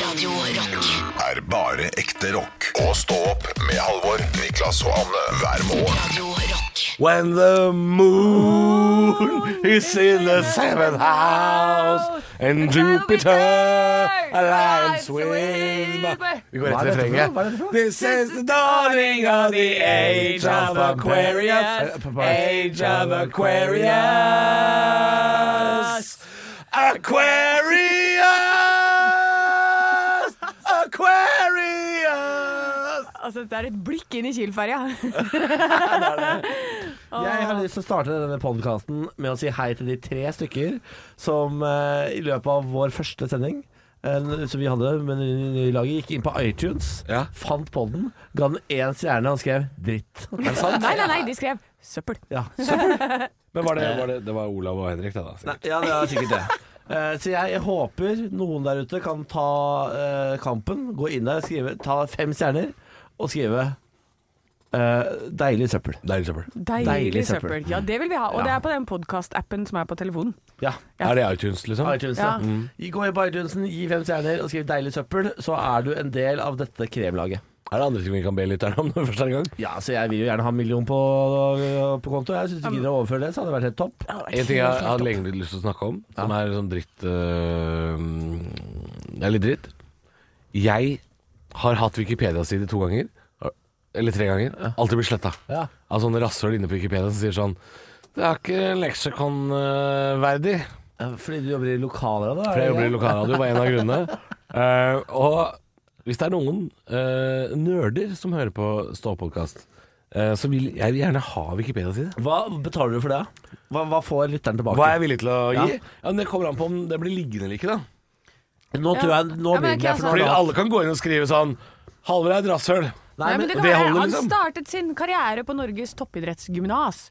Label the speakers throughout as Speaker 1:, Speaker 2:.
Speaker 1: Radio Rock.
Speaker 2: er bare ekte rock. Og stå opp med Halvor, Niklas og Anne hver morgen.
Speaker 1: Radio Rock.
Speaker 3: When the moon is in the seventh house And Jupiter aligns with Vi går rett til refrenget. This is the dawning of the age of Aquarius Age of Aquarius Aquarius Aquarius
Speaker 4: Altså, det er et blikk inn i Kiel-ferja.
Speaker 5: Jeg har lyst til å starte denne podkasten med å si hei til de tre stykker som eh, i løpet av vår første sending eh, som vi hadde med det nye laget, gikk inn på iTunes,
Speaker 3: Ja.
Speaker 5: fant podden, ga den én stjerne og skrev 'dritt'. Er det sant?
Speaker 4: Nei, nei, nei, de skrev søppel.
Speaker 5: Ja, søppel.
Speaker 3: Men var det, var det, det var Olav og Henrik, det da?
Speaker 5: Nei,
Speaker 3: sikkert.
Speaker 5: ja, det er sikkert det. Eh, så jeg, jeg håper noen der ute kan ta eh, kampen, gå inn der, skrive, ta fem stjerner og skrive eh, 'deilig søppel'.
Speaker 3: Deilig søppel.
Speaker 4: Deilig,
Speaker 5: Deilig søppel.
Speaker 4: søppel. Ja, det vil vi ha. Og
Speaker 5: Ja.
Speaker 4: det er på den podkast-appen som er på telefonen.
Speaker 5: Ja
Speaker 4: Ja.
Speaker 3: Er det iTunes, liksom?
Speaker 5: iTunes, ja.
Speaker 4: Ja.
Speaker 5: Mm. Gå inn på iTunesen, gi fem stjerner og skriv 'deilig søppel', så er du en del av dette kremlaget.
Speaker 3: Er det andre ting vi kan be lytterne om når vi først er i gang?
Speaker 5: Ja, så jeg vil jo gjerne ha en million på, på konto. Jeg Hvis du ikke gidder å overføre det, så hadde det vært helt topp.
Speaker 3: En ting jeg har hatt lenge lyst til å snakke om, som er sånn dritt øh, Det er litt dritt. Jeg har hatt Wikipedia-side to ganger, eller tre ganger. Alltid blitt sletta.
Speaker 5: Ja.
Speaker 3: Av sånne rasshøl inne på Wikipedia som sier sånn Det er ikke øh, leksikon-verdig.
Speaker 5: Fordi du jobber i lokaler da?
Speaker 3: For jeg jobber i lokalradio, var en av grunnene. Eh, og hvis det er noen eh, nerder som hører på Stå-podkast, så vil jeg gjerne ha Wikipedia-side.
Speaker 5: Hva betaler du for det? Hva, hva får lytteren tilbake?
Speaker 3: Hva er jeg villig til å
Speaker 5: Ja.
Speaker 3: gi? Ja, men det kommer an på om det blir liggende eller ikke, da.
Speaker 5: Nå tror jeg Nå
Speaker 4: Ja, men
Speaker 5: blir det
Speaker 4: ok,
Speaker 5: for
Speaker 3: Fordi
Speaker 5: noe annet.
Speaker 3: alle kan gå inn og skrive sånn Halvor er et rasshøl.
Speaker 4: Nei, men det kan
Speaker 3: det
Speaker 4: være,
Speaker 3: holder,
Speaker 4: Han
Speaker 3: liksom.
Speaker 4: startet sin karriere på Norges toppidrettsgymnas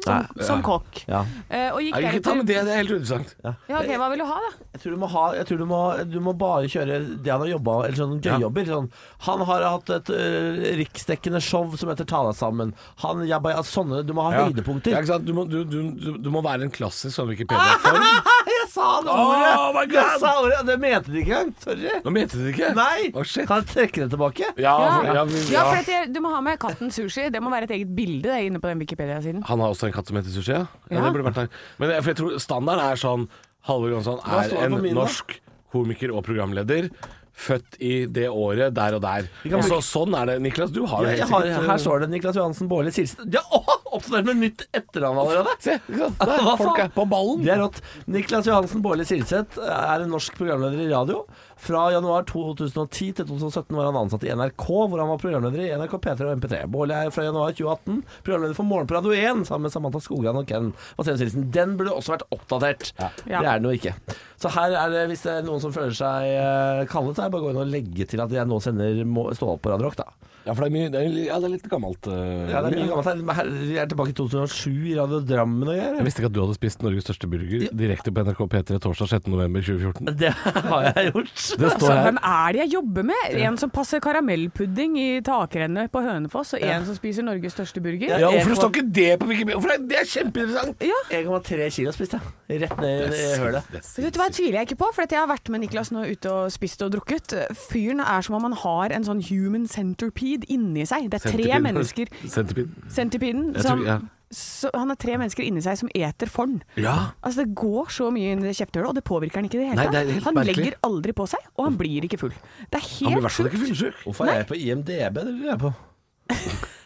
Speaker 4: som, som kokk.
Speaker 5: Ja.
Speaker 4: Eh, og gikk
Speaker 3: Nei, Ikke ta med
Speaker 4: deretter
Speaker 3: det, det er helt uinteressant.
Speaker 4: Ja, ok, Hva vil du ha, da?
Speaker 5: Jeg tror, du må ha, jeg tror du, må, du må bare kjøre det han har jobba Eller sånn gøyjobber. Sånn. Han har hatt et øh, riksdekkende show som heter 'Ta deg sammen'. Han, jeg, bare- altså, sånne, du må ha
Speaker 3: Ja.
Speaker 5: høydepunkter.
Speaker 3: Ja, ikke sant? Du, må, du, du, du, du må være en klassisk sånn Wikipedia-form.
Speaker 5: Jeg sa det ordet!
Speaker 3: Oh my
Speaker 5: jeg
Speaker 3: god!
Speaker 5: sa ordet. Det mente du ikke engang. Sorry.
Speaker 3: Nå mente du det ikke?
Speaker 5: Nei!
Speaker 3: Å, shit.
Speaker 5: Kan jeg trekke det tilbake?
Speaker 3: Ja, for, ja,
Speaker 4: ja,
Speaker 3: vi,
Speaker 4: ja,
Speaker 3: ja.
Speaker 4: for at jeg- Du må ha med katten Sushi. Det må være et eget bilde det, inne på den Wikipedia-siden.
Speaker 3: Han har også en katt som heter Sushi, ja? ja,
Speaker 4: Ja.
Speaker 3: Det burde vært der. Men jeg, for jeg tror standarden er sånn Halvor Jonsson
Speaker 5: Hva
Speaker 3: er
Speaker 5: står det
Speaker 3: en
Speaker 5: på min, da?
Speaker 3: norsk komiker og programleder. Født i det året, der og der.
Speaker 5: kan
Speaker 3: Og så, sånn er det. Niklas, du har
Speaker 5: Ja,
Speaker 3: det
Speaker 5: jeg
Speaker 3: helt
Speaker 5: har,
Speaker 3: sikkert. eh,
Speaker 5: her står det Niklas Johansen Bårli Silsen. Ja, å, oppsummert med nytt etternavn allerede!
Speaker 3: Se, ikke sant? Der,
Speaker 5: Hva
Speaker 3: folk
Speaker 5: faen?
Speaker 3: er på ballen.
Speaker 5: Det er rått. Niklas Johansen Bårli Silseth eh, er en norsk programleder i radio. Fra januar 2010 til 2017 var han ansatt i NRK, hvor han var programleder i NRK P3 og MP3. Bårli er fra januar 2018 programleder for Morgen på Radio 1 sammen med Samantha Skogran og Ken Vasenius Nilsen. Den burde også vært oppdatert. Det er den jo ikke. Så her er det, hvis det er noen som føler seg eh, kallet, så er det bare å gå inn og legge til at jeg nå sender må- Stå opp på Radio Rock, da.
Speaker 3: Ja, for det er, mye, det er, ja, det er litt gammelt. eh,
Speaker 5: Ja, det er mye gammelt her. Men her. Vi er tilbake i 2007 i Radio Drammen og
Speaker 3: Jeg
Speaker 5: greier.
Speaker 3: visste ikke at du hadde spist Norges største burger direkte på NRK P3 torsdag 16.11.2014.
Speaker 5: Det har jeg gjort.
Speaker 3: Det
Speaker 4: Altså,
Speaker 3: står her.
Speaker 4: hvem er det jeg jobber med? En som passer karamellpudding i takrennet på Hønefoss, og en som spiser Norges største burger?
Speaker 3: Ja, hvorfor står ikke det på Wikipedia? Hvorfor er det er kjempeinteressant!
Speaker 5: 1,3 kilo spiste jeg. Rett ned i hølet.
Speaker 4: Så Vet du hva, jeg tviler jeg ikke på, for at jeg har vært med Niklas nå ute og spist og drukket. Fyren er som om han har en sånn human centipede inni seg. Det er tre
Speaker 3: Centipede.
Speaker 4: mennesker
Speaker 3: Centipede.
Speaker 4: Centipeden
Speaker 3: Jeg
Speaker 4: som
Speaker 3: tror- ja.
Speaker 4: så, Han har tre mennesker inni seg som eter forn.
Speaker 3: Ja.
Speaker 4: Altså Det går så mye inn i det kjefthullet, og det påvirker han ikke i det hele
Speaker 3: Nei, det er
Speaker 4: tatt.
Speaker 3: helt
Speaker 4: Han
Speaker 3: merkelig.
Speaker 4: legger aldri på seg, og han blir ikke full. Det er
Speaker 3: Han blir i
Speaker 4: helt
Speaker 3: hvert fall ikke fyllesyk.
Speaker 5: Hvorfor er jeg på IMDb? Det lurer jeg på.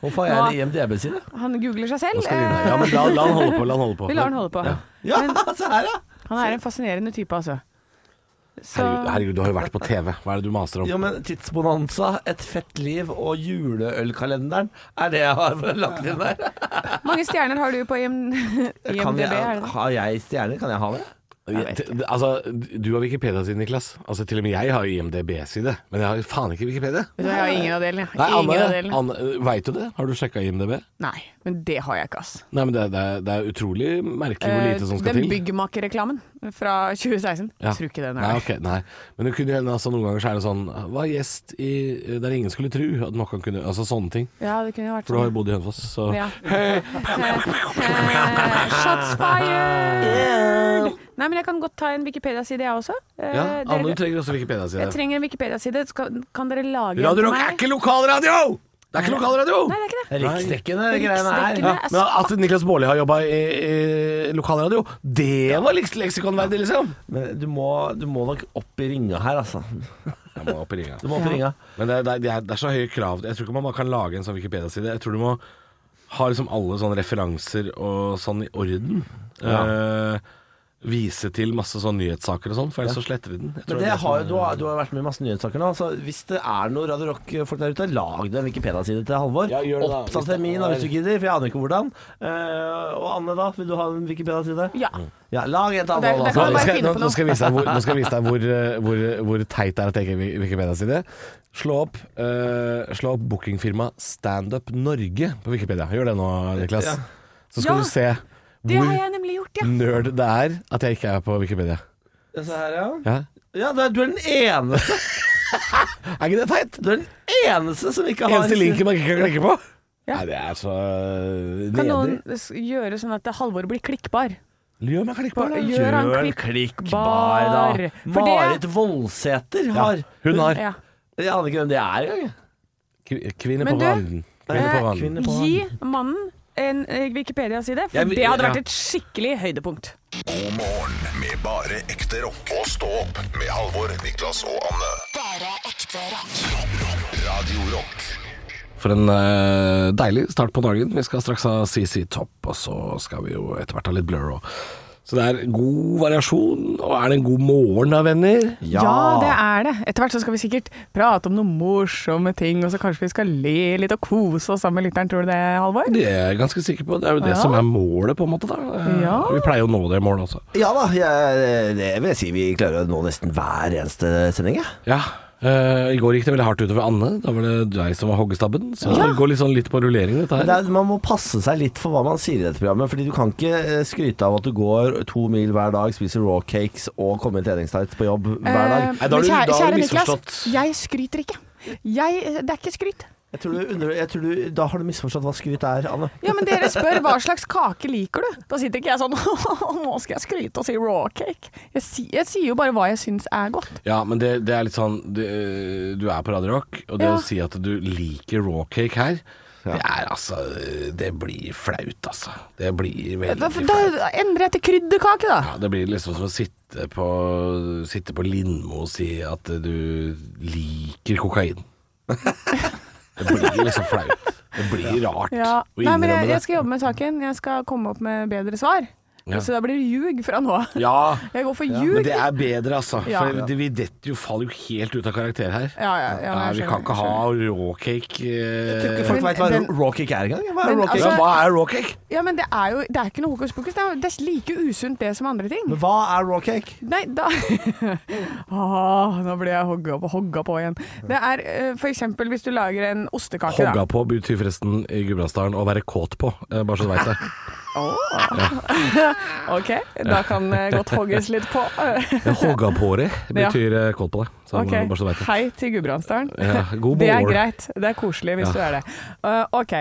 Speaker 5: Hvorfor er jeg en IMDb-side?
Speaker 4: Han googler seg selv. eh,
Speaker 3: Ja, men la, la han holde på. La han holde på.
Speaker 4: vi lar han holde på.
Speaker 5: Ja, se her, ja!
Speaker 4: Han er en fascinerende type, altså. Så
Speaker 3: Herregud, herregud, du har jo vært på TV. Hva er det du maser om?
Speaker 5: Jo, men Tidsbonanza, Et fett liv og juleølkalenderen er det jeg har lagt inn der.
Speaker 4: mange stjerner har du på IM IMDb?
Speaker 5: Kan
Speaker 4: er
Speaker 5: jeg,
Speaker 4: det det?
Speaker 5: har jeg stjerner? Kan jeg ha det?
Speaker 3: Jeg- t- altså, du har Wikipedia-side, Niklas. Altså, til og med jeg har IMDb-side. Men jeg har faen ikke Wikipedia.
Speaker 4: Vet du hva, Jeg har ingen av delene. jeg.
Speaker 3: Nei,
Speaker 4: ingen av
Speaker 3: Anne,
Speaker 4: delene.
Speaker 3: Anne veit du det? Har du sjekka IMDb?
Speaker 4: Nei, men det har jeg ikke, ass.
Speaker 3: Nei, men det, er- det, er- det er utrolig merkelig hvor
Speaker 4: Eh,
Speaker 3: lite som skal
Speaker 4: Den
Speaker 3: til.
Speaker 4: byggmakerreklamen. fra 2016.
Speaker 3: Ja.
Speaker 4: Tror ikke den
Speaker 3: Nei,
Speaker 4: er der.
Speaker 3: ok, nei. Men det kunne hende altså, noen ganger så er det sånn Var gjest i der ingen skulle tru at noen kunne Altså sånne ting.
Speaker 4: Ja, det kunne jo vært
Speaker 3: For du har
Speaker 4: sånn.
Speaker 3: jo bodd i Hønefoss, så
Speaker 4: Ja. Eh, Shots fired! Nei, men jeg kan godt ta en Wikipedia-side, jeg også. Eh,
Speaker 3: Ja, Anne, du
Speaker 4: dere,
Speaker 3: trenger også Wikipedia-side.
Speaker 4: jeg trenger en Wikipedia-side. så Kan, kan dere lage en
Speaker 3: Radio
Speaker 4: til
Speaker 3: Rock er
Speaker 4: meg?
Speaker 3: ikke lokalradio! Det er ikke lokalradio!
Speaker 4: Nei, det er ikke det.
Speaker 5: Riksdekkende greiene her.
Speaker 4: Riksdekkende.
Speaker 3: Ja, men at Niklas Baarli har jobba i, i lokalradio, det var liks leksikonverdig, liksom!
Speaker 5: Men du må, du må nok opp i ringa her, altså.
Speaker 3: Jeg må opp i ringa.
Speaker 5: Du må opp
Speaker 4: Ja.
Speaker 5: i ringa.
Speaker 3: Men det, er- det, er, det er så høye krav. Jeg tror ikke man bare kan lage en sånn Wikipedia-side. Jeg tror du må ha liksom alle sånne referanser og sånn i orden. Eh, vise til masse sånn nyhetssaker og sånn, for ellers så sletter vi den. Jeg
Speaker 5: Men
Speaker 3: tror det
Speaker 5: det
Speaker 3: er
Speaker 5: har,
Speaker 3: som-
Speaker 5: jo- du, har, du har vært med i masse nyhetssaker nå. Så hvis det er noe Radio Rock-folk der ute, lag deg en Wikipedia-side til Halvor.
Speaker 3: Ja, gjør det da, hvis
Speaker 5: Oppdater
Speaker 3: det
Speaker 5: min da,
Speaker 3: er-
Speaker 5: hvis du gidder, for jeg aner ikke hvordan. Eh, og Anne, da? Vil du ha en Wikipedia-side?
Speaker 4: Ja.
Speaker 5: Ja, lag en til Halvor.
Speaker 4: Det- det kan
Speaker 5: altså.
Speaker 3: Nå
Speaker 4: bare
Speaker 3: skal, jeg-
Speaker 4: finne
Speaker 3: nå,
Speaker 4: på
Speaker 3: nå skal jeg vise deg hvor, nå skal jeg vise deg hvor, eh, hvor, hvor teit det er at jeg ikke har Wikipedia-side. Slå opp, uh, slå opp bookingfirmaet Standup Norge på Wikipedia. Gjør det nå, Niklas.
Speaker 5: Ja.
Speaker 3: Så skal
Speaker 4: Ja.
Speaker 3: du se
Speaker 4: Det har
Speaker 3: hvor
Speaker 4: jeg nemlig gjort, ja.
Speaker 3: nerd det er at jeg ikke er på Wikipedia.
Speaker 5: Se her, ja.
Speaker 3: Ja.
Speaker 5: Ja, det er- du er den eneste
Speaker 3: Er ikke det teit?
Speaker 5: Du er den eneste som ikke har
Speaker 3: Eneste linken man ikke kan klikke på.
Speaker 4: Ja.
Speaker 3: Nei, det er så eh,
Speaker 4: Kan
Speaker 3: nedrig.
Speaker 4: noen s- gjøre sånn at Halvor blir klikkbar?
Speaker 3: Gjør meg klikke på det.
Speaker 4: Gjør han
Speaker 5: Gjør en klikkbar, da.
Speaker 4: For det-
Speaker 5: Marit Voldsæter har
Speaker 3: Hun har
Speaker 4: Ja.
Speaker 5: Jeg aner ikke hvem det er engang.
Speaker 3: Kvi- kvinne på
Speaker 4: Men du,
Speaker 3: vanen. Kvinne på
Speaker 4: eh,
Speaker 3: vanen.
Speaker 4: Gi mannen en eh, Wikipedia-side, for
Speaker 5: Jeg-
Speaker 4: det hadde
Speaker 5: ja.
Speaker 4: vært et skikkelig høydepunkt.
Speaker 2: God morgen med bare ekte rock. Og stå opp med Halvor, Niklas og Anne.
Speaker 1: Bare ekte rock.
Speaker 2: Radio Rock.
Speaker 3: For en eh, deilig start på dagen. Vi skal straks ha CC Topp, og så skal vi jo etter hvert ha litt Blur òg. Så det er god variasjon. Og er det en god morgen da, venner?
Speaker 4: Ja. det er det. Etter hvert så skal vi sikkert prate om noen morsomme ting, og så kanskje vi skal le litt og kose oss sammen med lytteren. Tror du det, Halvor?
Speaker 3: Det er jeg ganske sikker på. Det er jo det
Speaker 4: Ja.
Speaker 3: som er målet, på en måte. da Eh,
Speaker 4: Ja.
Speaker 3: Vi pleier å nå det målet også.
Speaker 5: Ja da, jeg, det vil jeg si vi klarer å nå nesten hver eneste sending. jeg.
Speaker 3: Ja. eh, I går gikk det veldig hardt utover Anne. Da var det deg som var hoggestabben. Så det går litt sånn litt på rullering, dette
Speaker 5: Men det
Speaker 3: her.
Speaker 5: er, man må passe seg litt for hva man sier i dette programmet. Fordi du kan ikke eh, skryte av at du går to mil hver dag, spiser raw cakes og kommer i treningstights på jobb hver
Speaker 4: Eh,
Speaker 5: dag.
Speaker 3: Nei, da har du- da har du misforstått.
Speaker 4: jeg skryter ikke. Jeg, det er ikke skryt.
Speaker 5: Jeg tror du, under, jeg tror du, da har du misforstått hva skryt er, Anne.
Speaker 4: Ja, men dere spør hva slags kake liker du? Da sitter ikke jeg sånn nå skal jeg skryte og si raw cake. Jeg, si, jeg sier jo bare hva jeg syns er godt.
Speaker 3: Ja, men det, det er litt sånn det, eh, Du er på Radio Rock, og det
Speaker 4: Ja.
Speaker 3: å si at du liker raw cake her Det er altså eh, Det blir flaut, altså. Det blir
Speaker 4: Da,
Speaker 3: veldig
Speaker 4: da
Speaker 3: flaut.
Speaker 4: endrer jeg til krydderkake, da.
Speaker 3: Ja, det blir liksom som å sitte på, sitte på Lindmo og si at du liker kokain. Det blir liksom flaut. Det blir rart
Speaker 4: Ja.
Speaker 3: å
Speaker 4: Nei, men
Speaker 3: innrømme
Speaker 4: jeg,
Speaker 3: det.
Speaker 4: jeg skal jobbe med saken. Jeg skal komme opp med bedre svar.
Speaker 3: Ja.
Speaker 4: Så da blir det ljug fra nå av.
Speaker 3: Ja,
Speaker 4: Jeg går for
Speaker 3: men
Speaker 4: ljug.
Speaker 3: det er bedre, altså.
Speaker 4: Ja.
Speaker 3: For det, vi detter jo, faller jo helt ut av karakter her.
Speaker 4: Ja, ja, ja,
Speaker 3: Ja,
Speaker 4: jeg
Speaker 3: vi
Speaker 4: skjønner,
Speaker 3: kan ikke
Speaker 4: jeg
Speaker 3: ha
Speaker 4: skjønner.
Speaker 3: raw cake eh,
Speaker 5: Jeg tror ikke folk
Speaker 4: Men
Speaker 5: veit hva
Speaker 4: den-
Speaker 5: raw cake er engang. Hva er
Speaker 4: Men
Speaker 5: raw cake?
Speaker 4: altså-
Speaker 3: ja, Hva er raw cake?
Speaker 4: Ja, men det er jo det er ikke noe hokus pokus. Det er, det er like usunt det som andre ting.
Speaker 5: Men hva er raw cake?
Speaker 4: Nei, da ah, Nå ble jeg hogga på, hogga på igjen. Det er eh, for eksempel hvis du lager en ostekake, da.
Speaker 3: Hogga på betyr forresten i Gudbrandsdalen å være kåt på, eh, bare så du veit det.
Speaker 4: Ok, da kan det godt hogges litt på.
Speaker 3: Ja, Hogga på det betyr eh, kåt på deg, så
Speaker 4: Ok,
Speaker 3: bare så du veit det.
Speaker 4: Hei til Gudbrandsdalen.
Speaker 3: Ja, god
Speaker 4: Det er
Speaker 3: morgen.
Speaker 4: greit. Det er koselig hvis
Speaker 3: Ja.
Speaker 4: du er det. Uh, ok.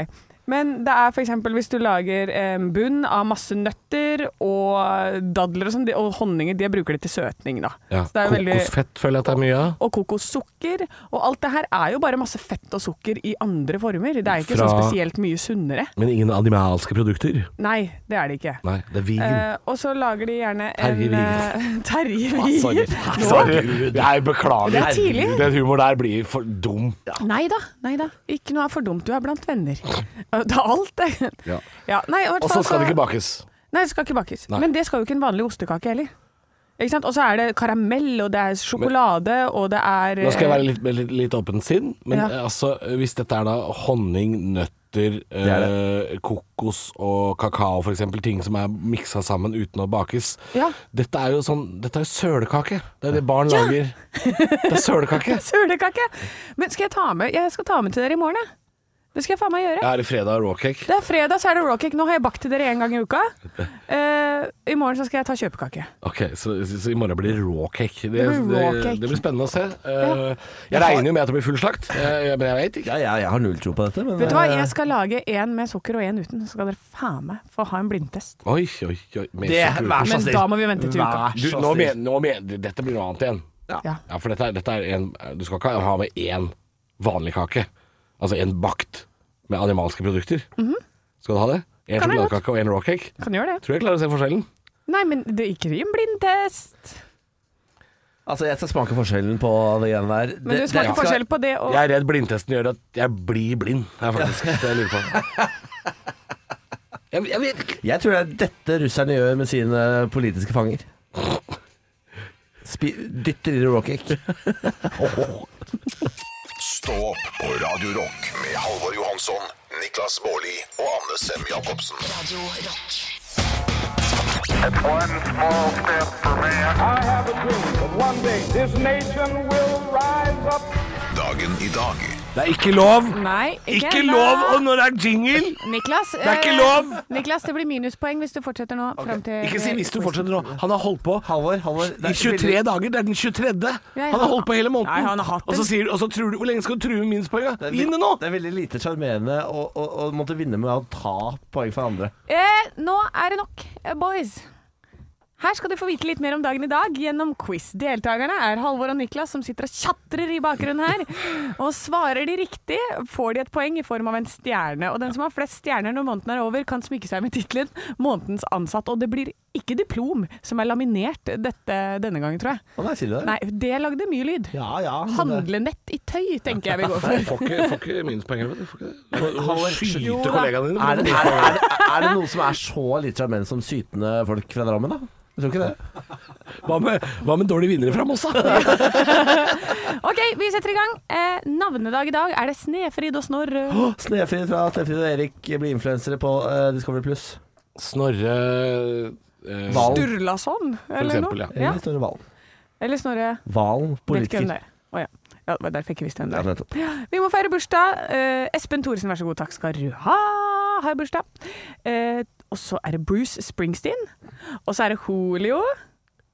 Speaker 4: Men det er f.eks. hvis du lager en bunn av masse nøtter og dadler og sånn, de- og honninger, de bruker de til søtning, da.
Speaker 3: Ja,
Speaker 4: Så det er jo veldig-
Speaker 3: kokosfett føler jeg at det er mye av.
Speaker 4: og kokossukker. Og alt det her er jo bare masse fett og sukker i andre former. Det er jo ikke
Speaker 3: Fra-
Speaker 4: så spesielt mye sunnere.
Speaker 3: Men ingen animalske produkter.
Speaker 4: Nei, det er det ikke.
Speaker 3: Nei, det er vegan.
Speaker 4: Eh, og så lager de gjerne en
Speaker 3: Terje Wigen.
Speaker 4: eh, Terje Wigen. Nå-
Speaker 3: Jeg beklager.
Speaker 4: Det er tidlig.
Speaker 3: Den humoren der blir for dum.
Speaker 4: Nei da, nei da. Ikke noe er for dumt, du er blant venner. Eh, Det er alt, det.
Speaker 3: Ja.
Speaker 4: Ja, nei, i hvert
Speaker 3: Og
Speaker 4: fall
Speaker 3: så skal det ikke bakes.
Speaker 4: Nei, det skal ikke bakes.
Speaker 3: Nei.
Speaker 4: Men det skal jo ikke en vanlig ostekake heller. Ikke sant? Og så er det karamell, og det er sjokolade, og det er eh,
Speaker 3: Nå skal jeg være litt, med litt, litt åpent sinn, men
Speaker 4: Ja.
Speaker 3: eh, altså, hvis dette er da honning, nøtter, eh, kokos og kakao for eksempel, ting som er miksa sammen uten å bakes.
Speaker 4: Ja.
Speaker 3: Dette er jo sånn, dette er jo sølekake. Det er det barn lager. Det er sølekake.
Speaker 4: Sølekake! Men skal jeg ta med Jeg skal ta med til dere i morgen, jeg. Det skal jeg faen meg gjøre.
Speaker 3: Er det fredag og raw cake?
Speaker 4: Det er fredag, så er det raw cake. Nå har jeg bakt til dere én gang i uka. Eh, I morgen så skal jeg ta kjøpekake.
Speaker 3: Ok, så, så, så i morgen blir det raw cake. Det,
Speaker 4: Det blir raw
Speaker 3: det,
Speaker 4: cake.
Speaker 3: det blir spennende å se. Eh, Jeg regner jo med at det blir full slakt, eh, jeg- men jeg vet ikke.
Speaker 5: Ja, jeg, jeg har null tro på dette, men
Speaker 4: Vet du hva,
Speaker 5: eh,
Speaker 4: jeg skal lage en med sukker og en uten. Så skal dere faen meg få ha en blindtest.
Speaker 3: Oi, oi, oi. med
Speaker 5: det,
Speaker 3: sukker.
Speaker 5: Vær så
Speaker 4: Men
Speaker 5: snill.
Speaker 4: da må vi vente til uka.
Speaker 5: Vær
Speaker 3: Du,
Speaker 5: så
Speaker 3: nå
Speaker 5: snill.
Speaker 3: men, nå men, dette blir noe annet igjen.
Speaker 4: Ja.
Speaker 3: Ja, for dette er, dette er en Du skal ikke ha med én vanlig kake. Altså en bakt med animalske produkter. Skal du ha det? En
Speaker 4: Mhm. Kan jeg godt.
Speaker 3: sjokoladekake og en raw cake.
Speaker 4: Kan gjøre det.
Speaker 3: Tror jeg klarer å se forskjellen.
Speaker 4: Nei, men det er ikke en blindtest.
Speaker 5: Altså, jeg skal smake forskjellen på det greiene der.
Speaker 4: Men du smaker forskjell på det og
Speaker 3: Jeg er redd blindtesten gjør at jeg blir blind. Det er faktisk det jeg lurer på. Jeg, jeg vet ikke.
Speaker 5: Jeg tror det er dette russerne gjør med sine politiske fanger. Spi dytter i raw cake.
Speaker 2: Stå opp på Radio Rock med Halvor Johansson, Niklas Baarli og Anne Sem Jacobsen.
Speaker 1: Radio Rock.
Speaker 6: One small step for man.
Speaker 7: I have a dream that one day this nation will rise up.
Speaker 2: Dagen i dag
Speaker 3: Det er ikke lov!
Speaker 4: Nei, ikke,
Speaker 3: Ikke
Speaker 4: ennå.
Speaker 3: lov! Og når det er jingle
Speaker 4: Niklas, det
Speaker 3: er ikke lov!
Speaker 4: Niklas, det blir minuspoeng hvis du fortsetter nå. Frem til
Speaker 3: Ikke si hvis du fortsetter nå. Han har holdt på
Speaker 5: Halvor, Halvor. det
Speaker 3: i
Speaker 5: er
Speaker 3: 23
Speaker 5: veldig-
Speaker 3: dager. Det er den 23.
Speaker 4: Ja, ja.
Speaker 3: Han har holdt på hele måneden.
Speaker 4: Nei, han har hatt
Speaker 3: og, så
Speaker 4: det.
Speaker 3: sier, og så tror du Hvor lenge skal du true minuspoenga?
Speaker 5: det er
Speaker 3: Gi
Speaker 5: veldig-
Speaker 3: den det nå!
Speaker 5: Det er veldig lite sjarmerende å, å, å måtte vinne med å ta poeng for andre.
Speaker 4: Eh, nå er det nok, eh, boys. Her skal du få vite litt mer om dagen i dag gjennom quiz. Deltakerne er Halvor og Niklas, som sitter og tjatrer i bakgrunnen her. Og svarer de riktig, får de et poeng i form av en stjerne. Og den som har flest stjerner når måneden er over, kan smykke seg med tittelen 'Månedens ansatt'. Og det blir ikke diplom som er laminert dette, denne gangen, tror jeg.
Speaker 5: Å nei, sier du det?
Speaker 4: Nei, det lagde mye lyd.
Speaker 5: Ja, ja. men det-
Speaker 4: Handlenett i tøy, tenker jeg vi går for.
Speaker 3: Får ikke, får ikke minuspoeng. vet du. Får ikke det. Du må
Speaker 4: Jo
Speaker 3: skyte
Speaker 4: da.
Speaker 3: kollegaene dine.
Speaker 5: Er det, er, er, er det noe som er så lite sjarmerende som sytende folk fra Drammen, da? Jeg tror ikke det.
Speaker 3: Hva med, hva med dårlige vinnere fra Moss, da?
Speaker 4: Ok, vi setter i gang. Eh, navnedag i dag er det Snefrid og Snorre.
Speaker 5: Å, Snefrid fra Snefrid og Erik blir influensere på eh, Discovery Pluss.
Speaker 3: Snorre eh,
Speaker 5: Valen.
Speaker 4: Sturlason, sånn, eller
Speaker 3: eksempel,
Speaker 4: noe?
Speaker 3: ja.
Speaker 5: Eller Snorre Valen.
Speaker 4: Eller Snorre
Speaker 5: Valen,
Speaker 4: Vet ikke hvem
Speaker 5: politiker.
Speaker 4: det er. Å ja. ja. Det var derfor jeg ikke visste hvem det
Speaker 5: Ja,
Speaker 4: er.
Speaker 5: nettopp.
Speaker 4: Vi må feire bursdag. Eh, Espen Thoresen, vær så god, takk skal du ha. Har bursdag. Eh, og så er det Bruce Springsteen. Og så er det Julio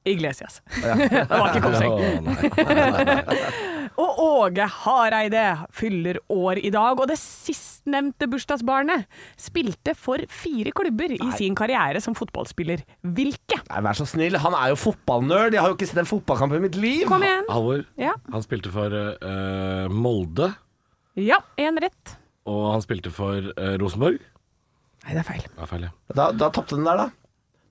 Speaker 4: Iglesias. det var ikke komseng. Og Åge Hareide fyller år i dag. Og det sistnevnte bursdagsbarnet spilte for fire klubber i sin karriere som fotballspiller. Hvilke?
Speaker 5: Nei, vær så snill, han er jo fotballnerd. Jeg har jo ikke sett en fotballkamp i mitt liv.
Speaker 4: Kom igjen.
Speaker 3: Halvor,
Speaker 4: Ja.
Speaker 3: han spilte for eh, Molde,
Speaker 4: Ja, én rett.
Speaker 3: og han spilte for eh, Rosenborg.
Speaker 4: Nei, det er feil.
Speaker 3: Det er feil, ja.
Speaker 5: Da, da tapte den der, da.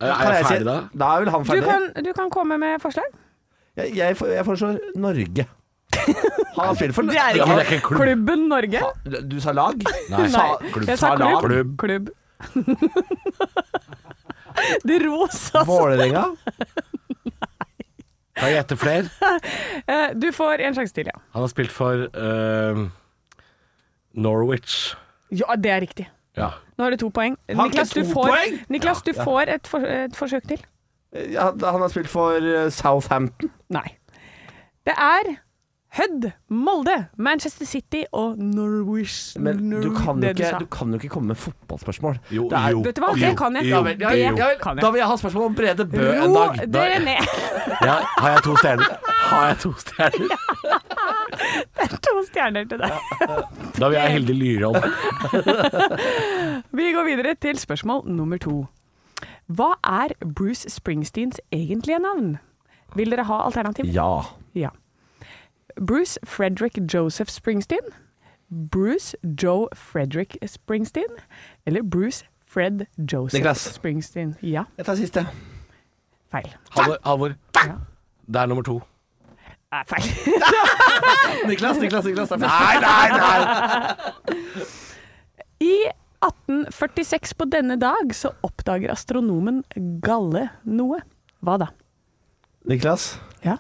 Speaker 3: Eh,
Speaker 5: Kan
Speaker 3: er jeg
Speaker 5: si-
Speaker 3: ferdig da?
Speaker 5: Da er vel han
Speaker 4: Du
Speaker 5: ferdig.
Speaker 4: kan, du kan komme med forslag.
Speaker 5: Jeg, jeg, for- jeg foreslår Norge. Han har spilt for
Speaker 3: Ja, men det er ikke en klubb.
Speaker 4: Klubben Norge.
Speaker 5: Du sa lag?
Speaker 3: Nei.
Speaker 5: Sa,
Speaker 4: jeg sa
Speaker 5: lag.
Speaker 4: klubb. Klubb. De rosa
Speaker 5: Altså. Vålerenga?
Speaker 3: Kan jeg gjette flere?
Speaker 4: Eh, Du får en sjanse til, ja.
Speaker 3: Han har spilt for eh, Norwich.
Speaker 4: Ja, det er riktig.
Speaker 3: Ja.
Speaker 4: Nå har du to poeng.
Speaker 5: ikke
Speaker 4: Niklas, du
Speaker 5: to
Speaker 4: får,
Speaker 5: poeng?
Speaker 4: Niklas, du får et, for, et forsøk til.
Speaker 5: Ja, han har spilt for eh, Southampton.
Speaker 4: Nei. Det er Hødd, Molde, Manchester City og Norwich.
Speaker 5: Men du
Speaker 4: Norwich-
Speaker 5: kan jo
Speaker 4: det
Speaker 5: ikke,
Speaker 4: sa.
Speaker 5: du kan jo ikke komme med fotballspørsmål.
Speaker 3: Jo,
Speaker 5: Det er-
Speaker 3: jo.
Speaker 4: Vet du hva, det kan jeg.
Speaker 3: Jo,
Speaker 4: det
Speaker 5: Ja, ja, ja,
Speaker 4: kan
Speaker 5: Da
Speaker 4: jeg.
Speaker 5: vil jeg ha spørsmål om Brede Bø en
Speaker 4: Ro
Speaker 5: dag. Da-
Speaker 4: dere ned.
Speaker 3: Ja, har jeg to stjerner? Har jeg to stjerner?
Speaker 4: To stjerner til deg.
Speaker 3: Da vil jeg Hilde Lyråd.
Speaker 4: Vi går videre til spørsmål nummer to. Hva er Bruce Springsteens egentlige navn? Vil dere ha alternativ?
Speaker 5: Ja.
Speaker 4: Ja. Bruce Frederick Joseph Springsteen, Bruce Joe Frederick Springsteen, eller Bruce Fred Joseph
Speaker 5: Niklas.
Speaker 4: Springsteen. Ja,
Speaker 5: Jeg tar siste.
Speaker 4: feil.
Speaker 3: Halvor, Halvor. det er nummer to.
Speaker 4: Eh, feil.
Speaker 5: Niklas, Niklas, Niklas. det er
Speaker 3: Nei, nei, nei!
Speaker 4: I 1846 på denne dag så oppdager astronomen Galle noe. Hva da?
Speaker 5: Niklas?
Speaker 4: Ja.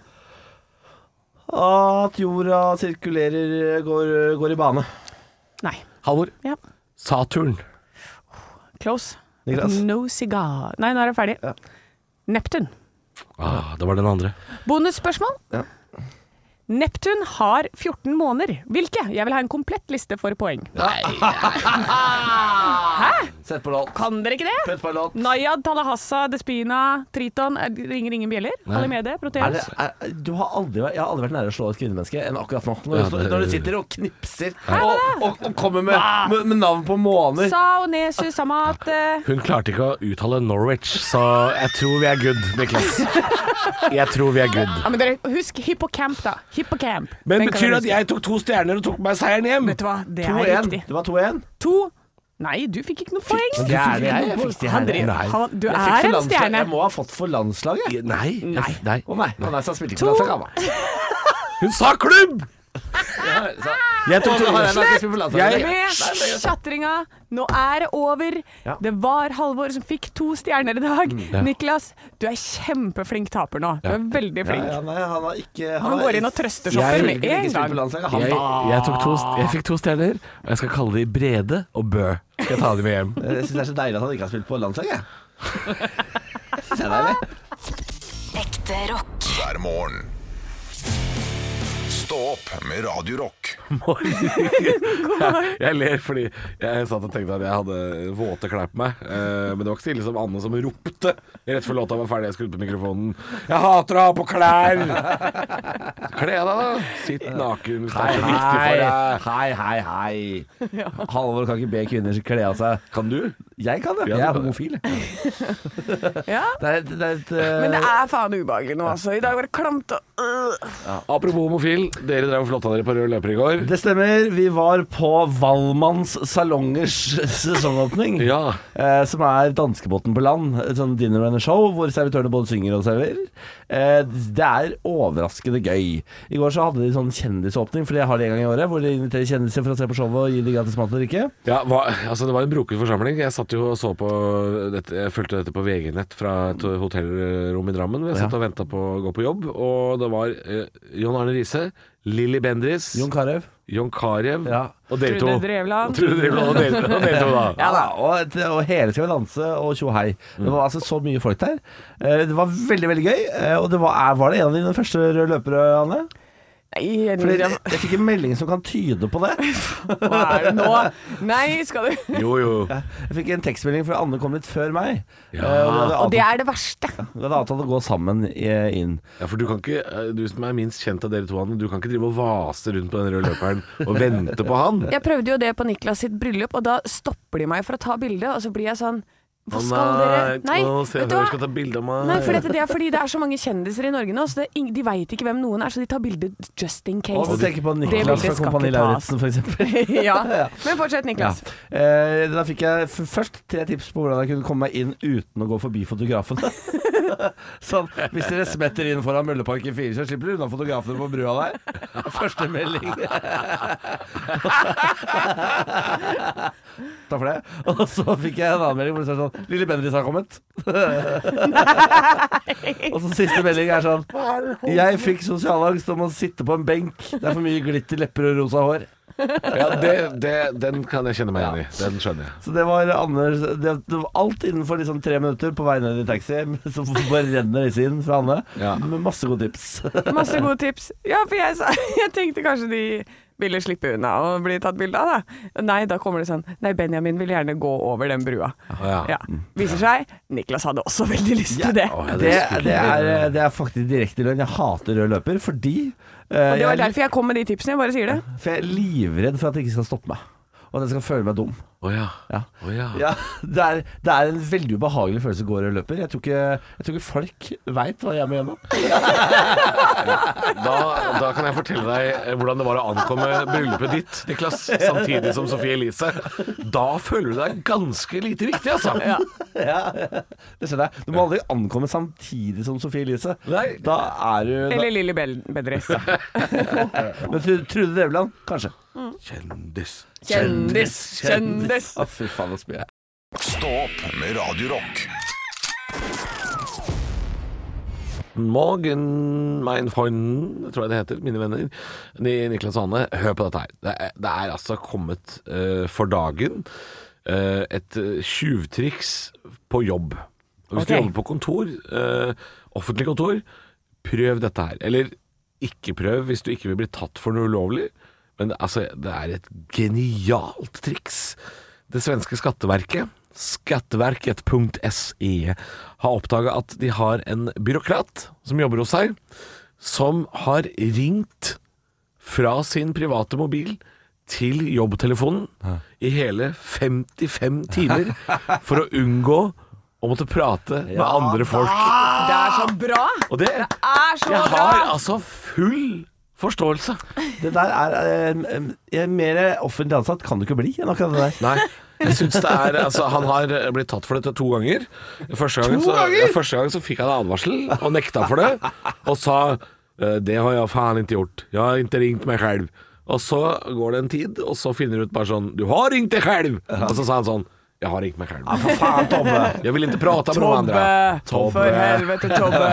Speaker 5: At jorda sirkulerer, går, går i bane.
Speaker 4: Nei.
Speaker 3: Halvor,
Speaker 4: Ja.
Speaker 3: Saturn.
Speaker 4: Close.
Speaker 5: Niklas?
Speaker 4: No cigar. Nei, nå er jeg ferdig.
Speaker 5: Ja.
Speaker 4: Neptun.
Speaker 3: Ah, det var den andre.
Speaker 4: Bonusspørsmål.
Speaker 5: Ja.
Speaker 4: Neptun har 14 måneder. Hvilke? Jeg vil ha en komplett liste for poeng.
Speaker 5: Sett på låt.
Speaker 4: Kan dere ikke det?
Speaker 5: Sett på låt.
Speaker 4: Nayad, Talahassa, Despina, Triton er- Ringer ingen bjeller? Alimede,
Speaker 5: Er
Speaker 4: Proteus?
Speaker 5: det, er, du har aldri, vært- jeg har aldri vært nære å slå et kvinnemenneske enn akkurat nå. Når, du
Speaker 3: Ja,
Speaker 5: står-
Speaker 3: det-
Speaker 5: når du sitter og knipser og, og, og kommer med, med, med navn på måneder.
Speaker 4: Sao, Nesu, Samat eh,
Speaker 3: Hun klarte ikke å uttale Norwich, så jeg tror vi er good, Niklas. Jeg tror vi er good.
Speaker 4: ja, men dere, Husk Hippocamp, da. Hippocamp.
Speaker 3: Men
Speaker 4: Den kan
Speaker 3: betyr det
Speaker 4: dere
Speaker 3: at
Speaker 4: huske.
Speaker 3: jeg tok to stjerner og tok meg seieren hjem?
Speaker 4: Vet du hva, det er
Speaker 5: 2-1.
Speaker 4: riktig.
Speaker 5: Det var 2-1.
Speaker 4: To Nei, du fikk ikke noe poeng.
Speaker 5: Men du fikk ikke noe poeng.
Speaker 4: Han drev-
Speaker 3: Nei.
Speaker 4: han, du
Speaker 5: Jeg fikk
Speaker 4: er
Speaker 5: for
Speaker 4: en
Speaker 5: landslag-
Speaker 4: stjerne.
Speaker 5: Jeg må ha fått for landslaget. Å
Speaker 3: Nei.
Speaker 4: Nei.
Speaker 3: jeg- nei.
Speaker 5: nei, å nei, så han spilte ikke
Speaker 4: To.
Speaker 5: for landslaget. han,
Speaker 3: Hun sa
Speaker 5: da.
Speaker 3: klubb! Jeg
Speaker 5: Å,
Speaker 3: tok
Speaker 5: nå har jeg
Speaker 3: to.
Speaker 5: lagt spill for landslaget.
Speaker 3: Jeg-
Speaker 4: med tjatringa. Nå er det over.
Speaker 5: Ja.
Speaker 4: Det var Halvor som fikk to stjerner i dag.
Speaker 3: Mm,
Speaker 4: Niklas, du er kjempeflink taper nå. Du er veldig
Speaker 5: Ja,
Speaker 4: flink.
Speaker 5: ja, nei, han har ikke
Speaker 4: Han
Speaker 5: har-
Speaker 4: går inn og
Speaker 3: Jeg-
Speaker 4: trøsteshopper med
Speaker 5: Ikke
Speaker 4: en
Speaker 5: spilt på
Speaker 4: gang.
Speaker 5: landslaget, han
Speaker 3: Jeg,
Speaker 5: da.
Speaker 3: jeg, tok to, st- jeg fikk to stjerner, og jeg skal kalle de Brede og Bø. Skal jeg ta dem med hjem.
Speaker 5: Jeg syns Eh, det er så deilig at han ikke har spilt på landslaget. Synes jeg det er deilig.
Speaker 1: Ekte rock.
Speaker 2: hver morgen. Stå opp med Radio Rock.
Speaker 3: Jeg, jeg ler fordi jeg satt og tenkte at jeg hadde våte klær på meg. Eh, men det var ikke så ille som Anne som ropte rett før låta var ferdig. Jeg skrudde på mikrofonen. Jeg hater å ha på klær! Kle deg, da. Sitt naken hvis det er så viktig for deg.
Speaker 5: Hei, hei, hei. Halvor kan ikke be kvinner kle av seg.
Speaker 3: Kan du?
Speaker 5: Jeg kan det.
Speaker 3: Ja, du
Speaker 5: Jeg er
Speaker 3: kan det.
Speaker 5: homofil.
Speaker 4: Ja.
Speaker 5: Det er, det er et eh,
Speaker 4: Men det er faen ubehagelig nå, altså. I dag var det klamt og øh.
Speaker 3: Apropos homofil, dere drev og flotta dere på rød løper i går.
Speaker 5: eh, Det stemmer. Vi var på Valmanns salongers sesongåpning.
Speaker 3: Ja.
Speaker 5: Eh, som er danskebåten på land. Et sånn dinner and a show hvor servitørene både synger og serverer. Eh, det er overraskende gøy. I går så hadde de sånn kjendisåpning, for det har de en gang i året. Hvor de inviterer kjendiser for å se på showet og gi de gratis mat og drikke.
Speaker 3: Ja, hva, altså Det var en broket forsamling. Jeg satt jo og så på dette, jeg fulgte dette på VG-nett fra et hotellrom i Drammen. Jeg satt og venta på å gå på jobb, og det var eh, John Arne Riise, Lilly Bendriss,
Speaker 5: Jon Carew.
Speaker 3: Jon Carew
Speaker 5: Ja.
Speaker 3: og dere to.
Speaker 4: Trude Drevland.
Speaker 3: Trude Drevland og dere, og dere to, da.
Speaker 5: Ja da, og, og hele Skal vi danse og tjo hei.
Speaker 4: Mm.
Speaker 5: Det var altså så mye folk der. Eh, Det var veldig, veldig gøy. Eh, Og det var, er- var det en av dine første røde løpere, Anne?
Speaker 4: Nei,
Speaker 5: Fordi jeg, jeg fikk en melding som kan tyde på det.
Speaker 4: hva er det nå? Nei, skal du
Speaker 3: Jo, jo.
Speaker 5: Jeg fikk en tekstmelding for Anne kom litt før meg.
Speaker 3: Ja.
Speaker 5: Eh, Og vi hadde
Speaker 4: Og det
Speaker 5: avtalt,
Speaker 4: er det verste.
Speaker 5: vi hadde avtalt å gå sammen i- inn.
Speaker 3: Ja, for Du kan ikke, eh, du som er minst kjent av dere to, Anne, du kan ikke drive og vase rundt på den røde løperen og vente på han.
Speaker 4: Jeg prøvde jo det på Niklas sitt bryllup, og da stopper de meg for å ta bilde, og så blir jeg sånn Hva
Speaker 3: Å,
Speaker 4: skal dere Nei,
Speaker 3: nå ser
Speaker 4: vet
Speaker 3: jeg
Speaker 4: du
Speaker 3: at
Speaker 4: hva?
Speaker 3: jeg skal ta bilde av meg.
Speaker 4: Nei, for dette, det er fordi det er så mange kjendiser i Norge nå, så det, er ing- de veit ikke hvem noen er, så de tar bilde just in
Speaker 5: Og
Speaker 4: case.
Speaker 5: du tenker på
Speaker 4: Det
Speaker 5: Niklas
Speaker 4: bildet
Speaker 5: fra
Speaker 4: skal
Speaker 5: Kompani
Speaker 4: ikke tas.
Speaker 5: Lauritzen, f.eks.
Speaker 4: ja. Men
Speaker 5: Ja.
Speaker 4: fortsett, Niklas.
Speaker 5: Eh, Da fikk jeg f først tre tips på hvordan jeg kunne komme meg inn uten å gå forbi fotografene. sånn, hvis dere smetter inn foran Møllepark i fire, så slipper dere unna fotografene på brua der. Første melding. Takk for det. Og så fikk jeg en annen melding hvor det står sånn Lille Bendriss har kommet. Og så siste melding er sånn Jeg fikk sosialangst om å sitte på en benk. Det er for mye glitter, lepper og rosa hår.
Speaker 3: Ja, det, det, Den kan jeg kjenne meg igjen i. Den skjønner jeg.
Speaker 5: Så det var Anders det, det var alt innenfor liksom tre minutter på vei ned i taxi. Så bare renner disse inn fra Anne
Speaker 3: Ja.
Speaker 5: med masse gode tips.
Speaker 4: Masse gode tips. Ja, for jeg, sa- jeg tenkte kanskje de ville slippe unna og bli tatt bilde av, da. Nei, da kommer det sånn Nei, Benjamin vil gjerne gå over den brua.
Speaker 3: ja.
Speaker 4: Ja. Viser seg, Niklas hadde også veldig lyst til det.
Speaker 3: Å, ja,
Speaker 5: Det,
Speaker 3: det
Speaker 5: det,
Speaker 3: skulle-
Speaker 5: er, det er faktisk direktelønn. Jeg hater rød løper fordi eh,
Speaker 4: Og det var
Speaker 5: jeg,
Speaker 4: derfor jeg kom med de tipsene, jeg bare sier det.
Speaker 5: for jeg er livredd for at det ikke skal stoppe meg. Og at jeg skal føle meg dum.
Speaker 3: Å ja.
Speaker 5: Ja.
Speaker 3: Å ja.
Speaker 5: Ja, det, er, det er en veldig ubehagelig følelse å gå rød løper. Jeg tror ikke, jeg tror ikke folk veit hva jeg må gjennom.
Speaker 3: Da, da kan jeg fortelle deg eh, hvordan det var å ankomme bryllupet ditt, Niklas, samtidig som Sophie Elise. Da føler du deg ganske lite viktig, altså.
Speaker 5: Det skjønner jeg. Du må aldri ankomme samtidig som Sophie Elise.
Speaker 3: Nei.
Speaker 5: Da er du da,
Speaker 4: Eller Lilly Bell- Bedres.
Speaker 5: Men Tru- Trude Drevland, kanskje.
Speaker 3: Kjendis.
Speaker 4: Kjendis, kjendis.
Speaker 5: Å, fy faen, så mye.
Speaker 2: Stå opp med Radio Rock.
Speaker 3: Morgen, mein Freund, tror jeg det heter, mine venner. Ni, Niklas og Anne, hør på dette her. Det er, det er altså kommet eh, for dagen eh, et eh, tjuvtriks på jobb. Og hvis
Speaker 4: Ok.
Speaker 3: du jobber på kontor, eh, offentlig kontor, prøv dette her. Eller Ikke prøv hvis du ikke vil bli tatt for noe ulovlig. Men det- altså, det er et genialt triks. Det svenske skatteverket, skatteverket.se, har oppdaga at de har en byråkrat som jobber hos seg, som har ringt fra sin private mobil til jobbtelefonen i hele 55 timer for å unngå å måtte prate med andre folk.
Speaker 4: Det er så bra!
Speaker 3: Og det
Speaker 4: Er så
Speaker 3: Jeg
Speaker 4: bra!
Speaker 3: har altså full forståelse.
Speaker 5: Det der er eh, eh, Mer offentlig ansatt kan du ikke bli enn akkurat det der.
Speaker 3: Nei. Jeg synes det er, altså, Han har blitt tatt for dette to ganger. Første gangen, så, ja, første gangen så fikk han en advarsel og nekta for det. Og sa eh, 'det har jeg faen ikke gjort'. 'Jeg har ikke ringt meg selv'. Og så går det en tid, og så finner du ut bare sånn 'du har ringt deg selv'. Og så sa han sånn 'jeg har ringt meg selv'.
Speaker 5: For faen, Tobbe!
Speaker 3: Jeg vil ikke prate med noen andre.
Speaker 4: For helvete, Tobbe.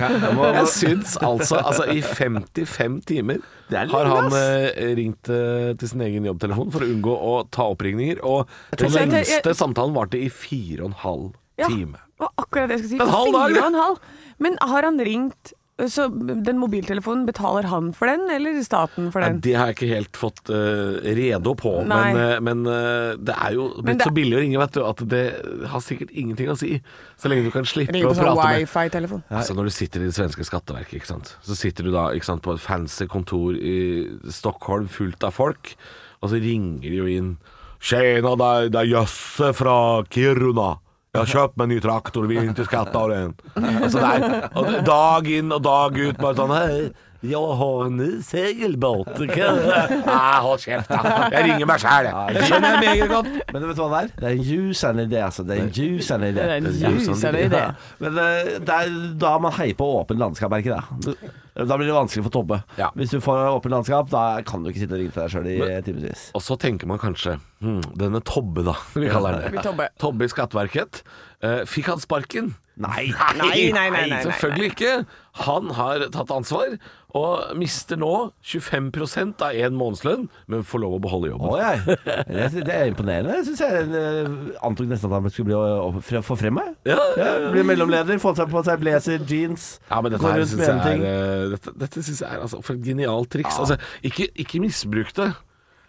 Speaker 3: Jeg syns altså, altså I 55 timer
Speaker 5: Det er litt
Speaker 3: har han
Speaker 5: ass.
Speaker 3: eh, ringt eh, til sin egen jobbtelefon for å unngå å ta oppringninger, og den
Speaker 4: tror det-
Speaker 3: lengste
Speaker 4: jeg-
Speaker 3: samtalen varte i fire og en halv
Speaker 4: Ja,
Speaker 3: time.
Speaker 4: det var akkurat det jeg skulle si.
Speaker 3: En halv dag,
Speaker 4: Fire og en halv. Men har han ringt Så den mobiltelefonen, betaler han for den, eller staten for
Speaker 3: Nei,
Speaker 4: den?
Speaker 3: det har jeg ikke helt fått eh, redo på,
Speaker 4: Nei.
Speaker 3: men, eh, men eh, det er jo
Speaker 4: Men
Speaker 3: blitt
Speaker 4: det-
Speaker 3: så billig å ringe, vet du, at det har sikkert ingenting å si. Så lenge du kan slippe
Speaker 4: Ringe
Speaker 3: å
Speaker 4: på sånn
Speaker 3: prate med
Speaker 4: wifi-telefon.
Speaker 3: Altså Når du sitter i det svenske skatteverket, ikke sant? så sitter du da ikke sant, på et fancy kontor i Stockholm fullt av folk, og så ringer de jo inn. 'Tjena, det er- det er Jøsse fra Kiruna. Jeg har kjøpt meg en ny traktor, vil ikke skatte av den.' Altså, det er, og det- dag inn og dag ut bare sånn hei, 'Jeg har en ny seilbåt.' ikke det?» Nei, hold kjeft, da. Jeg ringer meg sjæl, jeg.
Speaker 5: skjønner jeg meget godt. Men vet du hva det er? Det er en ljusende idé, altså. Det er en ljusende idé.
Speaker 4: Det er en ljusende idé.
Speaker 5: Ja. Men eh, det er da man heier på åpen landskap, er ikke det? Da blir det vanskelig for Tobbe.
Speaker 3: Ja.
Speaker 5: Hvis du får åpen landskap, da kan du ikke sitte og ringe til deg sjøl i timevis.
Speaker 3: Og så tenker man kanskje hm, Denne Tobbe, da, vi kaller han det.
Speaker 4: Tobbe.
Speaker 3: Tobbe i Skatteverket. Eh, fikk han sparken?
Speaker 5: Nei!
Speaker 4: Nei, nei, nei, nei, nei.
Speaker 3: Selvfølgelig ikke. Han har tatt ansvar, og mister nå 25 av én månedslønn, men får lov å beholde
Speaker 5: Å,
Speaker 3: jobben.
Speaker 5: jeg. Jeg synes Det er imponerende. Jeg synes jeg eh, antok nesten at han skulle bli å- å- fre- forfremma. jeg.
Speaker 3: Ja, ja.
Speaker 5: Ja, Bli mellomleder, få seg på seg blazer, jeans,
Speaker 3: Ja, men dette
Speaker 5: gå
Speaker 3: her
Speaker 5: rundt
Speaker 3: synes
Speaker 5: med en
Speaker 3: jeg
Speaker 5: ting.
Speaker 3: er, eh, dette, dette synes jeg er altså, for et genialt triks. Altså, ikke, ikke misbruk det.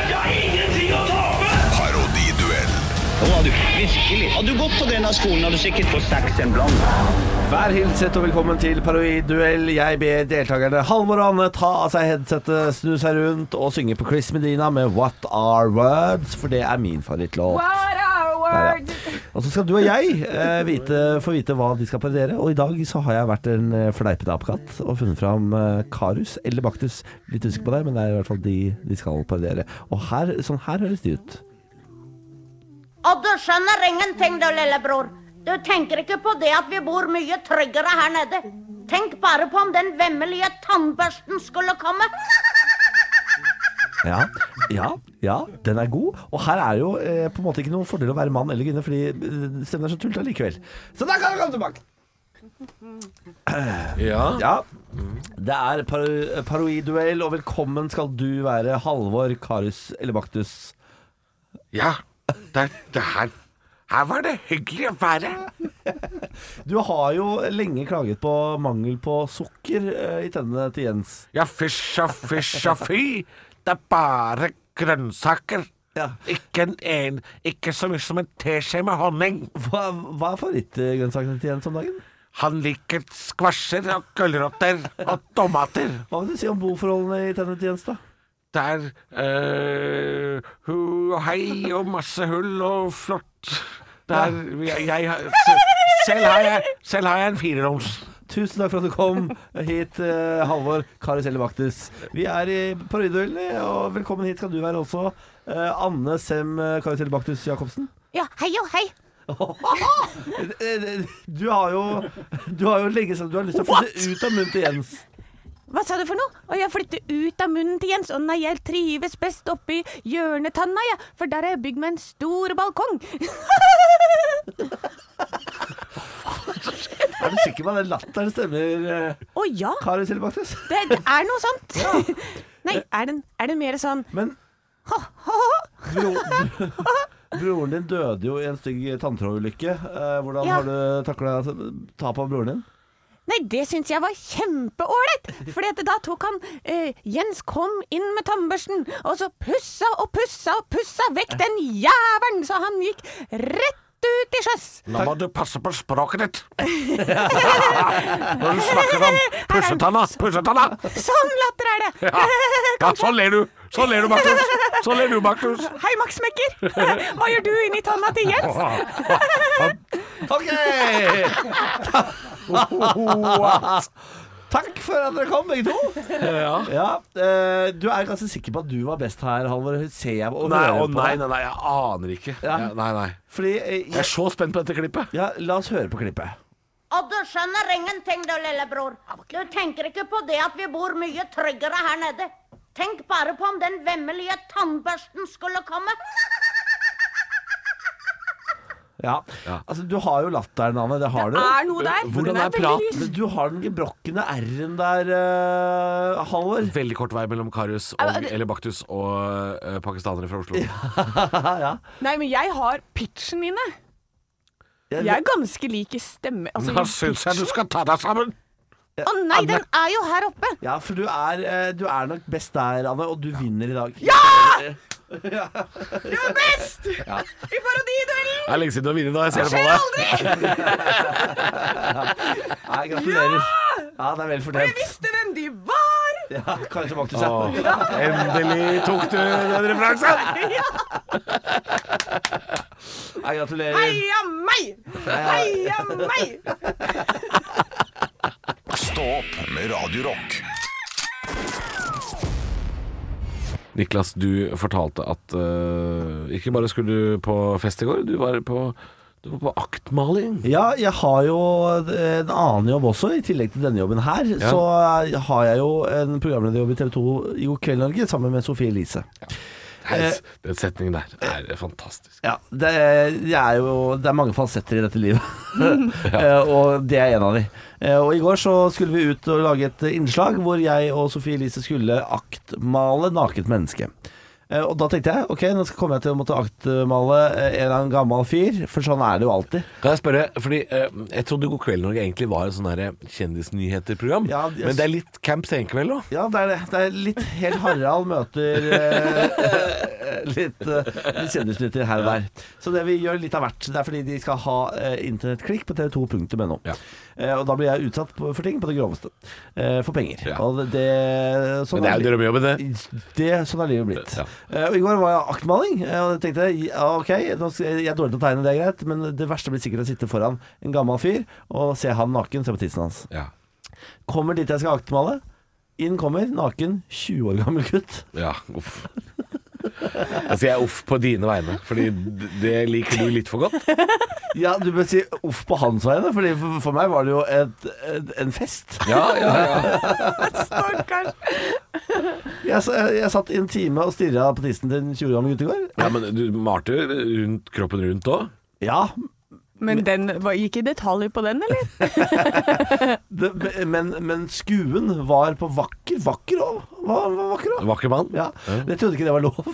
Speaker 6: Jeg har ingenting å tape!
Speaker 2: Parodiduell
Speaker 8: Nå var du virkelig. Hadde du gått på denne skolen, hadde du sikkert fått seks en blant.
Speaker 5: Vær hilset og velkommen til Paroiduell. Jeg ber deltakerne Halvor og Anne ta av seg headsetet, snu seg rundt og synge på Chris Medina med What Are Words, for det er min favorittlåt.
Speaker 4: What a word!
Speaker 5: Og så skal du og jeg eh, vite, få vite hva de skal parodiere. Og i dag så har jeg vært en eh, fleipete apekatt og funnet fram eh, Karus eller Baktus. Litt usikker på det, men det er i hvert fall de de skal parodiere. Og her, sånn her høres de ut.
Speaker 9: Og du skjønner ingenting, du lillebror. Du tenker ikke på det at vi bor mye tryggere her nede. Tenk bare på om den vemmelige tannbørsten skulle komme.
Speaker 5: Ja, ja, ja, den er god. Og her er jo eh, på en måte ikke noen fordel å være mann eller kvinne, fordi eh, stemmen er så tullete likevel. Så da kan du komme tilbake!
Speaker 3: Ja.
Speaker 5: Ja. Det er par paroiduell, og velkommen skal du være Halvor, Karus eller Baktus.
Speaker 3: ja. Det, det her Her var det hyggelig å være.
Speaker 5: Du har jo lenge klaget på mangel på sukker eh, i tennene til Jens.
Speaker 3: Ja, fysj og fysj og fy. Det er bare grønnsaker.
Speaker 5: Ja.
Speaker 3: Ikke, en, en, ikke så mye som en teskje med honning.
Speaker 5: Hva, hva er favorittgrønnsakene til Jens om dagen?
Speaker 3: Han liker skvasjer og gulrøtter og tomater.
Speaker 5: Hva vil du si om boforholdene i tennene til Jens, da?
Speaker 3: Det er øh, hu og hei og masse hull og flott. Det er jeg, jeg har- så, Selv har jeg, selv har jeg en fireroms.
Speaker 5: Tusen takk for at du kom hit, eh, Halvor Kari Selle Baktus. Vi er i Parodiduellen, og velkommen hit skal du være også. Eh, Anne Sem eh, Kari Selle Baktus Jacobsen. Eh,
Speaker 9: Ja, hei og hei.
Speaker 5: Du har jo, du har jo lenge sagt du har lyst til å flytte ut av munnen til Jens.
Speaker 9: Hva sa du for noe? Å, jeg flytter ut av munnen til Jens. Å nei, jeg trives best oppi hjørnetanna, ja. For der har jeg bygd meg en stor balkong.
Speaker 5: Er du sikker på at den latteren stemmer, eh,
Speaker 9: Å ja,
Speaker 5: Kari Selle Baktus?
Speaker 9: det, det er noe sånt. Nei, er den, er den mer sånn
Speaker 5: Men bro, broren din døde jo i en stygg tanntrådulykke. Eh, hvordan
Speaker 9: Ja.
Speaker 5: har du takla tapet av broren din?
Speaker 9: Nei, det syns jeg var kjempeålreit! For da tok han eh, Jens kom inn med tannbørsten, og så pussa og pussa og pussa vekk den jævelen! Så han gikk rett ut i sjøs!
Speaker 3: Nå må du passe på språket ditt. Når du snakker om pussetanna, pussetanna.
Speaker 9: Sånn latter er det!
Speaker 3: Ja, ja så ler du. Så ler du, Markus. Så ler du, Markus.
Speaker 9: Hei, Max Mekker! Hva gjør du inni tanna til Jens?
Speaker 5: Ok! Takk for at dere kom, begge to.
Speaker 3: Ja.
Speaker 5: Ja, eh, du er ganske sikker på at du var best her, Halvor. Ser jeg og
Speaker 3: Nei,
Speaker 5: hører på
Speaker 3: å nei,
Speaker 5: deg.
Speaker 3: nei, nei, jeg aner ikke.
Speaker 5: Ja.
Speaker 3: Ja, Nei, nei.
Speaker 5: Fordi eh,
Speaker 3: Jeg er så spent på dette klippet.
Speaker 5: ja, La oss høre på klippet.
Speaker 9: Og du skjønner ingenting, du lillebror. Du tenker ikke på det at vi bor mye tryggere her nede. Tenk bare på om den vemmelige tannbørsten skulle komme.
Speaker 5: Ja. Altså, du har jo latteren, Anne. Det har du.
Speaker 4: Er noe der?
Speaker 3: Hvordan
Speaker 4: Den
Speaker 3: er
Speaker 4: veldig
Speaker 3: praten?
Speaker 4: lys.
Speaker 5: Men du har den gebrokkende r-en der, eh, Halvor.
Speaker 3: Veldig kort vei mellom Karius og, eller Baktus og eh, pakistanere fra Oslo.
Speaker 4: Nei, men jeg har pitchen inne. Jeg er ganske lik i stemme altså,
Speaker 3: Da
Speaker 4: i
Speaker 3: syns jeg
Speaker 4: pitchen.
Speaker 3: du skal ta deg sammen.
Speaker 9: Å nei, den er jo her oppe!
Speaker 5: Ja, for du er, eh, du er nok best der, Anne, og du vinner i dag.
Speaker 4: I parodiduellen!
Speaker 3: Det er lenge siden du har vunnet, da. Jeg ser det på deg.
Speaker 5: Nei, gratulerer. Ja, det er vel
Speaker 4: Jeg
Speaker 5: fortjent.
Speaker 4: visste hvem de var!
Speaker 5: Ja, kanskje Magnus er
Speaker 3: Å, endelig tok du den referansen.
Speaker 5: Nei, gratulerer.
Speaker 4: Heia meg! Heia meg!
Speaker 2: Stå opp med Radio Rock.
Speaker 3: Niklas, du fortalte at eh, ikke bare skulle du på fest i går, du var på, du var på aktmaling.
Speaker 5: Ja, jeg har jo en annen jobb også, i tillegg til denne jobben her. Så har jeg jo en programlederjobb i TV 2 i God kveld Norge sammen med Sofie Elise.
Speaker 3: Heis, Eh, den setningen der er fantastisk.
Speaker 5: Ja, det, det er jo det er mange fasetter i dette livet, Eh, og det er en av de. Eh, Og i går så skulle vi ut og lage et innslag hvor jeg og Sofie Elise skulle aktmale naket menneske. Eh, Og da tenkte jeg ok, nå skal kommer jeg til å måtte aktmale eh, en eller annen gammel fyr, for sånn er det jo alltid.
Speaker 3: Kan jeg spørre, fordi eh, jeg trodde God kveld Norge egentlig var et sånn derre kjendisnyheter-program,
Speaker 5: Ja, jeg-
Speaker 3: men det er litt Camp Senkveld òg.
Speaker 5: Ja, det er det. Det er litt helt Harald møter eh, litt, eh, litt kjendisnytter her og der. Så det vi gjør litt av hvert. Det er fordi de skal ha eh, internettklikk på tv2.no.
Speaker 3: Ja.
Speaker 5: Eh, og da blir jeg utsatt på, for ting på det groveste. Eh, for penger.
Speaker 3: Ja.
Speaker 5: Og det, det, sånn
Speaker 3: Men det er jo
Speaker 5: li-
Speaker 3: drømmejobben, det.
Speaker 5: det, sånn er livet blitt.
Speaker 3: Ja.
Speaker 5: Eh, og I går var jeg aktmaling, eh, og jeg tenkte ja, ok, nå skal, jeg- jeg er dårlig til å tegne, det er greit, men det verste blir sikkert å sitte foran en gammel fyr og se han naken, se på tissen hans.
Speaker 3: Ja.
Speaker 5: Kommer dit jeg skal aktmale. Inn kommer naken 20 år gammel gutt.
Speaker 3: ja. Uff. Altså, jeg er uff på dine vegne, fordi d- det liker du litt for godt.
Speaker 5: Ja, du bør si uff på hans vegne, Fordi for, for meg var det jo et, et, en fest.
Speaker 3: Ja, ja, ja.
Speaker 4: Stakkars.
Speaker 5: Jeg, s- jeg, jeg satt i en time og stirra på tissen til en 20 år gammel gutt i går.
Speaker 3: ja men du malte jo rundt, kroppen rundt òg.
Speaker 5: Ja,
Speaker 4: Men den hva- gikk i detalj på den, eller?
Speaker 5: det, men, men skuen var på vakker. Vakker òg. Var, var vakker òg.
Speaker 3: Vakker mann.
Speaker 5: Ja. Jeg trodde ikke det var lov.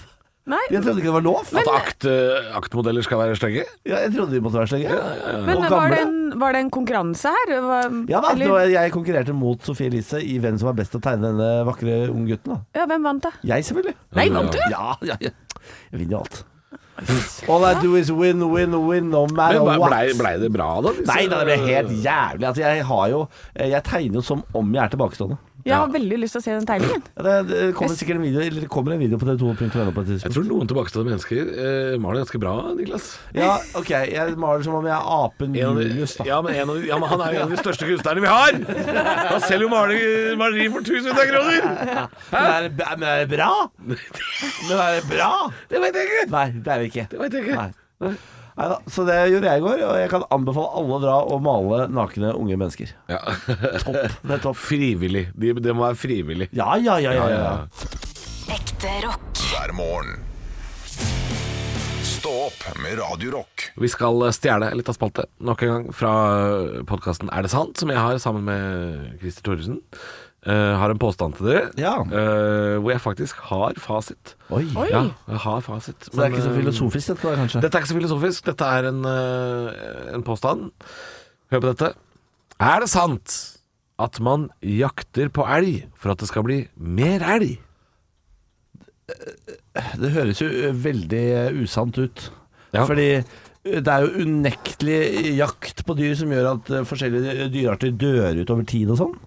Speaker 4: Nei.
Speaker 5: Jeg trodde ikke det var lov.
Speaker 3: At akt, eh, aktmodeller skal være stygge?
Speaker 5: Ja, jeg trodde vi måtte være slenge.
Speaker 4: Men
Speaker 5: Og
Speaker 4: var
Speaker 5: gamle.
Speaker 4: det, en, var det en konkurranse her? Hva-
Speaker 5: Ja da, det
Speaker 4: eller,
Speaker 5: var, jeg konkurrerte mot Sofie Elise i hvem som var best til å tegne denne vakre unggutten. da.
Speaker 4: ja, hvem vant, da?
Speaker 5: Jeg selvfølgelig.
Speaker 4: Nei, vant du?
Speaker 5: Ja, ja, ja. Jeg vinner jo alt. All I do is win, win, win, no matter
Speaker 3: Men ble,
Speaker 5: what.
Speaker 3: ble, ble det bra, da? Liksom?
Speaker 5: eh, Nei da, det ble helt jævlig. Altså, jeg har jo Jeg tegner jo som om jeg er tilbakestående.
Speaker 4: Jeg har veldig lyst til å se den tegningen.
Speaker 5: Ja, det, det kommer sikkert en video, eller det kommer en video på tv2.no på et
Speaker 3: Jeg
Speaker 5: tidspunkt.
Speaker 3: tror noen tilbakestående mennesker eh, maler ganske bra, Niklas.
Speaker 5: Ja, OK. Jeg maler som om jeg er apen
Speaker 3: En av de,
Speaker 5: Julius, da.
Speaker 3: ja, men en av de, ja, men han er jo en av de største kunstnerne vi har! Han selger jo maleri, maleri for tusenvis av kroner!
Speaker 5: Men er, det- men er det bra? Men er det bra?
Speaker 3: Det veit jeg ikke!
Speaker 5: Nei, det er det ikke.
Speaker 3: Det vet jeg ikke.
Speaker 5: Nei. Neida, Så det gjorde jeg i går, og jeg kan anbefale alle å dra og male nakne unge mennesker.
Speaker 3: Ja.
Speaker 5: Topp. Det er topp.
Speaker 3: Frivillig. De, det må være frivillig.
Speaker 5: Ja, ja, ja. ja, ja.
Speaker 3: Eh,
Speaker 1: Ekte rock.
Speaker 2: hver morgen. Stå opp med Radio Rock.
Speaker 3: Vi skal stjele litt av spalte nok en gang fra podkasten Er det sant?, som jeg har sammen med Christer Thoresen. Eh, har en påstand til dere
Speaker 5: Ja.
Speaker 3: eh, hvor jeg faktisk har fasit.
Speaker 5: Oi.
Speaker 3: Ja, jeg har fasit.
Speaker 5: Så det er ikke så
Speaker 3: Men, eh,
Speaker 5: filosofisk dette, da, kanskje?
Speaker 3: Dette er ikke så filosofisk. Dette er en, eh, en påstand. Hør på dette. Er det sant at man jakter på elg for at det skal bli mer elg?
Speaker 5: Det høres jo ø, veldig ø, usant ut.
Speaker 3: Ja.
Speaker 5: Fordi ø, det er jo unektelig jakt på dyr som gjør at ø, forskjellige dyrearter dør ut over tid og sånn.